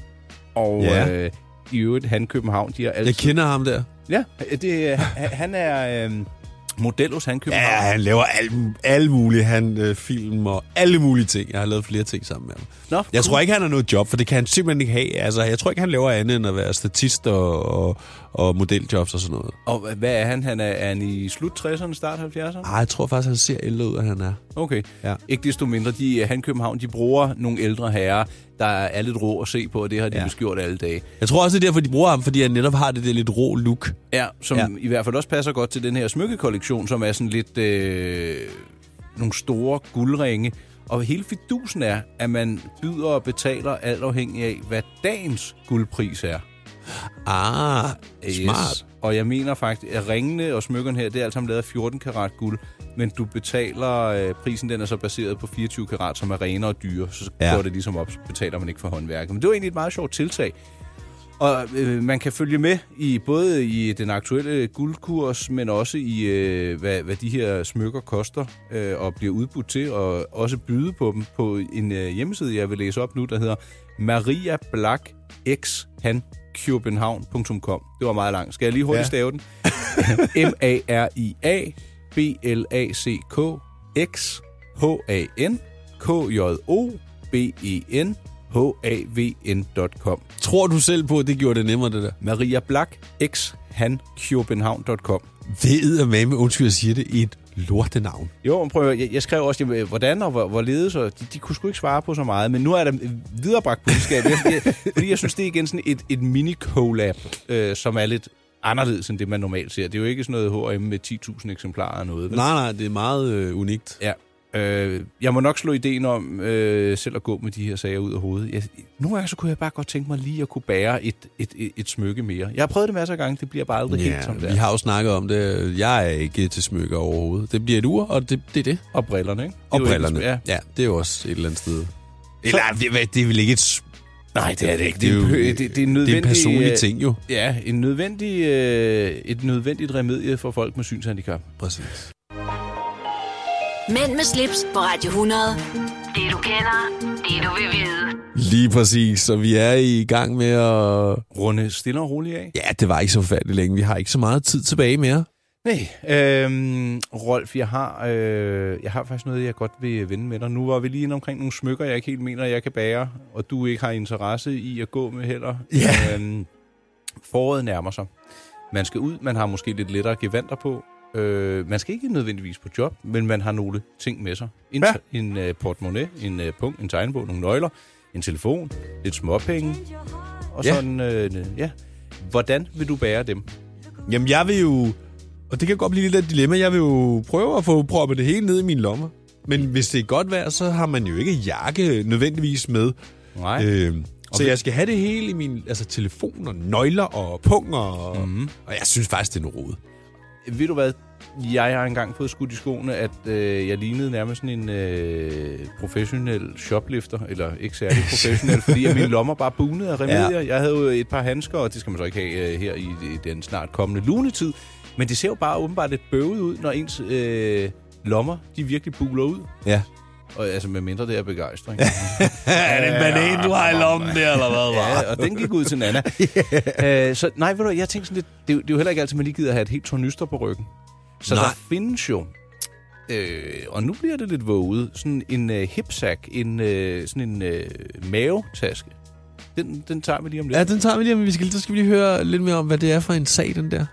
Og Ja. ja. øh, i øvrigt, han København, de har altid... Jeg kender ham der. Ja, det, øh, han han er øh, model hos han København. Ja, han laver alle, alle mulige han, øh, film og alle mulige ting. Jeg har lavet flere ting sammen med ham. Nå, Jeg cool. tror ikke, han har noget job, for det kan han simpelthen ikke have. Altså, jeg tror ikke, han laver andet end at være statist og, og, og modeljobs og sådan noget. Og hvad er han? Han er, er han i slut 60'erne, start 70'erne? Ej, Ah, jeg tror faktisk, han ser ældre ud, end han er. Okay. Ja. Ja. Ikke desto mindre, de, øh, han København, de bruger nogle ældre herrer, der er lidt rå at se på, og det har de Ja. ja. beskjort alle dage. Jeg tror også, det er derfor, de bruger ham, fordi han netop har det der lidt rå look. Ja, som Ja. ja. i hvert fald også passer godt til den her smykkekollektion, som er sådan lidt øh, nogle store guldringe. Og hele fidusen er, at man byder og betaler alt afhængig af, hvad dagens guldpris er. Ah, smart. Yes. Og jeg mener faktisk, at ringene og smykkerne her, det er alt sammen lavet af 14 karat guld, men du betaler, øh, prisen den er så baseret på 24 karat, som er renere og dyre, så Ja. ja. går det ligesom op, så betaler man ikke for håndværket. Men det var egentlig et meget sjovt tiltag. Og øh, man kan følge med i både i den aktuelle guldkurs, men også i, øh, hvad, hvad de her smykker koster øh, og bliver udbudt til, og også byde på dem på en øh, hjemmeside, jeg vil læse op nu, der hedder mariablackxhankjøbenhavn.com. Det var meget langt. Skal jeg lige hurtigt Ja. ja. stave den? M-A-R-I-A-B-L-A-C-K X-H-A-N K-J-O-B-E-N H-A-V-N.com Tror du selv på, at det gjorde det nemmere, det der? Maria Black, x han Det er med, undskyld, jeg siger det, et lortenavn. Jo, men prøv at, høre, jeg, jeg skrev også, jamen, øh, hvordan og hvor, hvorledes, og de, de kunne sgu ikke svare på så meget, men nu er der øh, viderebragt budskab, jeg, jeg, fordi jeg synes, det er igen sådan et, et mini-collab, øh, som er lidt anderledes end det, man normalt ser. Det er jo ikke sådan noget H&M med 10.000 eksemplarer og noget. vel? Nej, nej, det er meget øh, unikt. Ja. Øh, jeg må nok slå ideen om øh, selv at gå med de her sager ud af hovedet. Jeg, nogle gange så kunne jeg bare godt tænke mig lige at kunne bære et, et, et, et smykke mere. Jeg har prøvet det masser af gange, det bliver bare aldrig helt som det vi er. har jo snakket om det. Jeg er ikke til smykker overhovedet. Det bliver et ur, og det, det er det. Og brillerne, ikke? Og Det er jo brillerne. Ikke, ja. ja, det er jo også et eller andet sted. Eller, det, er vel- det er vel ikke et... s- Nej, det er det ikke. Det Det er er, jo- det, det, det, det er, Det er en personlig øh, ting jo. Ja, en nødvendig, øh, et nødvendigt remedie for folk med synshandicap. Præcis. Mænd med slips på Radio 100. Det du kender, det du vil vide. Lige præcis, så vi er i gang med at... Runde stille og roligt af. Ja, det var ikke så forfærdeligt længe. Vi har ikke så meget tid tilbage mere. Nej, øhm, Rolf, jeg har, øh, jeg har faktisk noget, jeg godt vil vende med dig. Nu var vi lige inde omkring nogle smykker, jeg ikke helt mener, jeg kan bære, og du ikke har interesse i at gå med heller. Ja. Øhm, foråret nærmer sig. Man skal ud, man har måske lidt lettere gevanter på. Øh, man skal ikke nødvendigvis på job, men man har nogle ting med sig. En, ja. en øh, portemonnaie, en øh, punkt, en tegnbog, nogle nøgler, en telefon, lidt småpenge, og Ja. sådan, øh, ja. Hvordan vil du bære dem? Jamen, jeg vil jo... Og det kan godt blive lidt af et dilemma. Jeg vil jo prøve at få proppet det hele ned i mine lommer. Men hvis det er godt vejr, så har man jo ikke jakke nødvendigvis med. Nej. Øh, så jeg skal have det hele i min altså, telefon og nøgler og punger. Og, mm. og jeg synes faktisk, det er noget rodet. Ved du hvad? Jeg har engang fået skudt i skoene, at øh, jeg lignede nærmest sådan en øh, professionel shoplifter, eller ikke særlig professionel, fordi at mine lommer bare bunede af remedier. Ja. Jeg havde jo et par handsker, og det skal man så ikke have øh, her i, i den snart kommende lunetid. Men det ser jo bare åbenbart lidt bøvet ud, når ens øh, lommer, de virkelig buler ud. Ja. Og altså med mindre det er begejstring. Er det en banan, du har i lommen der, eller hvad? ja, og den gik ud til Nana. yeah. øh, så nej, ved du, hvad, jeg tænkte sådan lidt, det, er jo- det er jo heller ikke altid, man lige gider have et helt tornyster på ryggen. Så Nej. nej. der findes jo, øh, og nu bliver det lidt våget, sådan en øh, hipsack, en, øh, sådan en øh, mavetaske. Den, den tager vi lige om lidt. Ja, den tager vi lige, men vi skal, så skal vi lige høre lidt mere om, hvad det er for en sag, den der.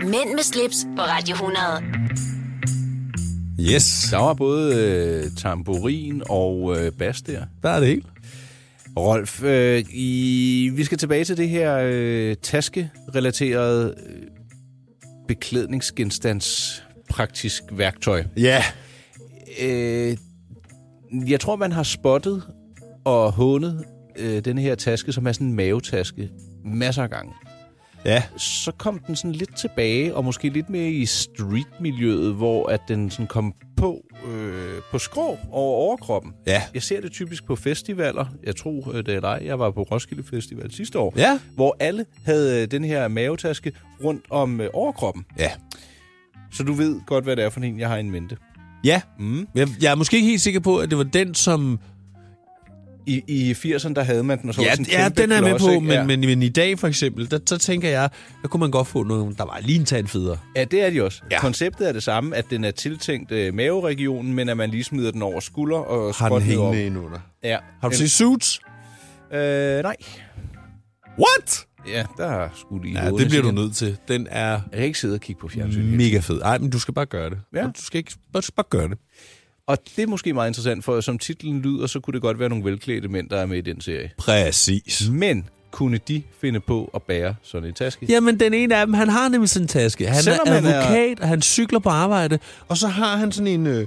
Mænd med slips på Radio 100. Yes, Der var både øh, tamburin og øh, bas der. der er det hele. Rolf, øh, i, vi skal tilbage til det her øh, taskerelaterede øh, beklædningsgenstands praktisk værktøj. Ja. Øh, jeg tror, man har spottet og hånet øh, den her taske, som er sådan en mavetaske, masser af gange. Ja. Så kom den sådan lidt tilbage, og måske lidt mere i streetmiljøet, hvor at den sådan kom på, øh, på skrå over overkroppen. Ja. Jeg ser det typisk på festivaler. Jeg tror, øh, det er dig. Jeg var på Roskilde Festival sidste år. Ja. Hvor alle havde øh, den her mavetaske rundt om øh, overkroppen. Ja. Så du ved godt, hvad det er for en, jeg har i mente. Ja. Mm. Jeg, jeg er måske ikke helt sikker på, at Mhm. det var den, som... I, i 80'erne, der havde man den, og så var Ja, det sådan en ja kæmpe den er jeg med klods, på, ikke? men, ja. men, men i dag for eksempel, der, så tænker jeg, der kunne man godt få noget, der var lige en tand federe. Ja, det er de også. Ja. Ja. Konceptet er det samme, at den er tiltænkt øh, maveregionen, men at man lige smider den over skulder og Har den spot ned op. hængende ind under. Ja. Har du En- set Suits? Øh, nej. What? Ja, der er sgu lige Ja, det åbnes bliver du igen. nødt til. Den er Jeg kan ikke sidde og kigge på fjernsyn. hele mega fed. Ej, men du skal bare gøre det. Ja. Du skal ikke du skal bare gøre det. Mm. Og det er måske meget interessant, for som titlen lyder, så kunne det godt være nogle velklædte mænd, der er med i den serie. Præcis. Men kunne de finde på at bære sådan en taske? Jamen, den ene af dem, han har nemlig sådan en taske. Han Selvom er han er- advokat, og han cykler på arbejde, og så har han sådan en, øh,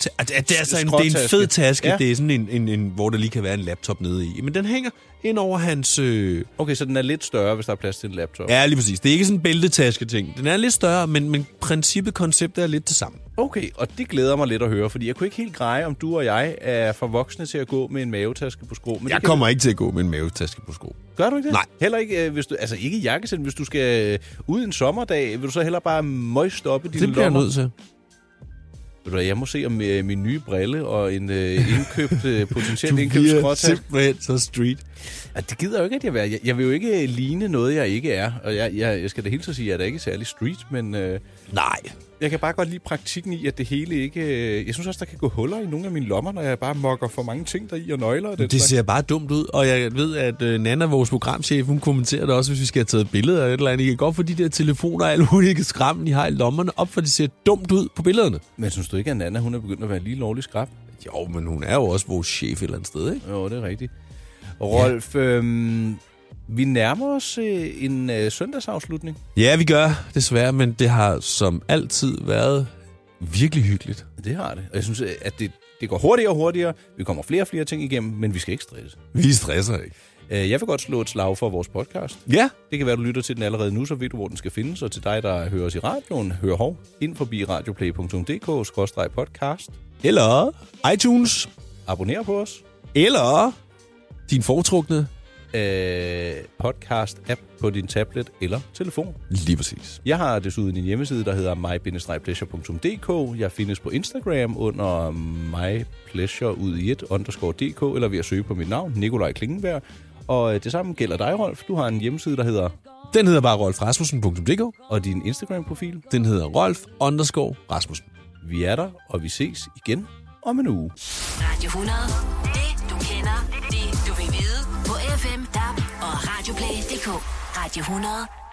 ta- at, at det, er altså en, det er en Skråtaske. fed taske. Ja. Ja. Det er sådan en, en, en, hvor der lige kan være en laptop nede i. Men den hænger ind over hans... Øh, Okay, så den er lidt større, hvis der er plads til en laptop. ja, lige præcis. Det er ikke sådan en bæltetaske-ting. Den er lidt større, men, men princippet, konceptet er lidt det samme. Okay, og det glæder mig lidt at høre, fordi jeg kunne ikke helt greje, om du og jeg er for voksne til at gå med en mavetaske på sko. Men det Jeg kan- kommer ikke til at gå med en mavetaske på sko. Gør du ikke det? Nej. Heller ikke, øh, hvis du, altså ikke i jakkesæt, hvis du skal øh, ud en sommerdag, vil du så heller bare møgstoppe dine Det bliver jeg lommer? nødt til. Ved du hvad, jeg må se om øh, min nye brille og en øh, indkøbt, øh, potentielt indkøbt bliver skråtaske. simpelthen så street. Ja, det gider jeg jo ikke, at jeg være. Jeg, jeg vil jo ikke øh, ligne noget, jeg ikke er. Og jeg, jeg, jeg skal da hilse at sige, at jeg er da ikke særlig street, men øh, Nej. jeg kan bare godt lide praktikken i, at det hele ikke... Øh, jeg synes også, der kan gå huller i nogle af mine lommer, når jeg bare mokker for mange ting deri og nøgler og den Det slags. ser bare dumt ud, og jeg ved, at øh, Nana, vores programchef, hun kommenterer det også, hvis vi skal have taget billeder eller et eller andet. I kan godt få de der telefoner og alle mulige skram, I har i lommerne op, for det ser dumt ud på billederne. Men synes du ikke, at Nana hun er begyndt at være lige lovlig skrab? Jo, men hun er jo også vores chef et eller andet sted, ikke? Jo, det er rigtigt. Rolf, øhm, vi nærmer os øh, en øh, søndagsafslutning. Ja, vi gør, desværre, men det har som altid været virkelig hyggeligt. Det har det. Og jeg synes, øh, at det, det går hurtigere og hurtigere. Vi kommer flere og flere ting igennem, men vi skal ikke stresse. Vi stresser ikke. Øh, jeg vil godt slå et slag for vores podcast. Ja, Det kan være, du lytter til den allerede nu, så ved du, hvor den skal findes. Og til dig, der hører os i radioen, hør hov ind forbi radioplay.dk-podcast. eller iTunes, Abonner på os. eller din foretrukne. Øh, podcast-app på din tablet eller telefon. Lige præcis. Jeg har desuden en hjemmeside, der hedder my-pleasure.dk. Jeg findes på Instagram under mypleasure ud i et underscore dk, eller ved at søge på mit navn, Nikolaj Klingenberg. Og øh, det samme gælder dig, Rolf. Du har en hjemmeside, der hedder, Den hedder bare rolfrasmussen.dk. og din Instagram-profil. Den hedder Rolf underscore Rasmussen. Vi er der, og vi ses igen om en uge. Radio 100. Det du kender, det du vil vide. På FM, DAB og Radioplay.dk. Radio 100.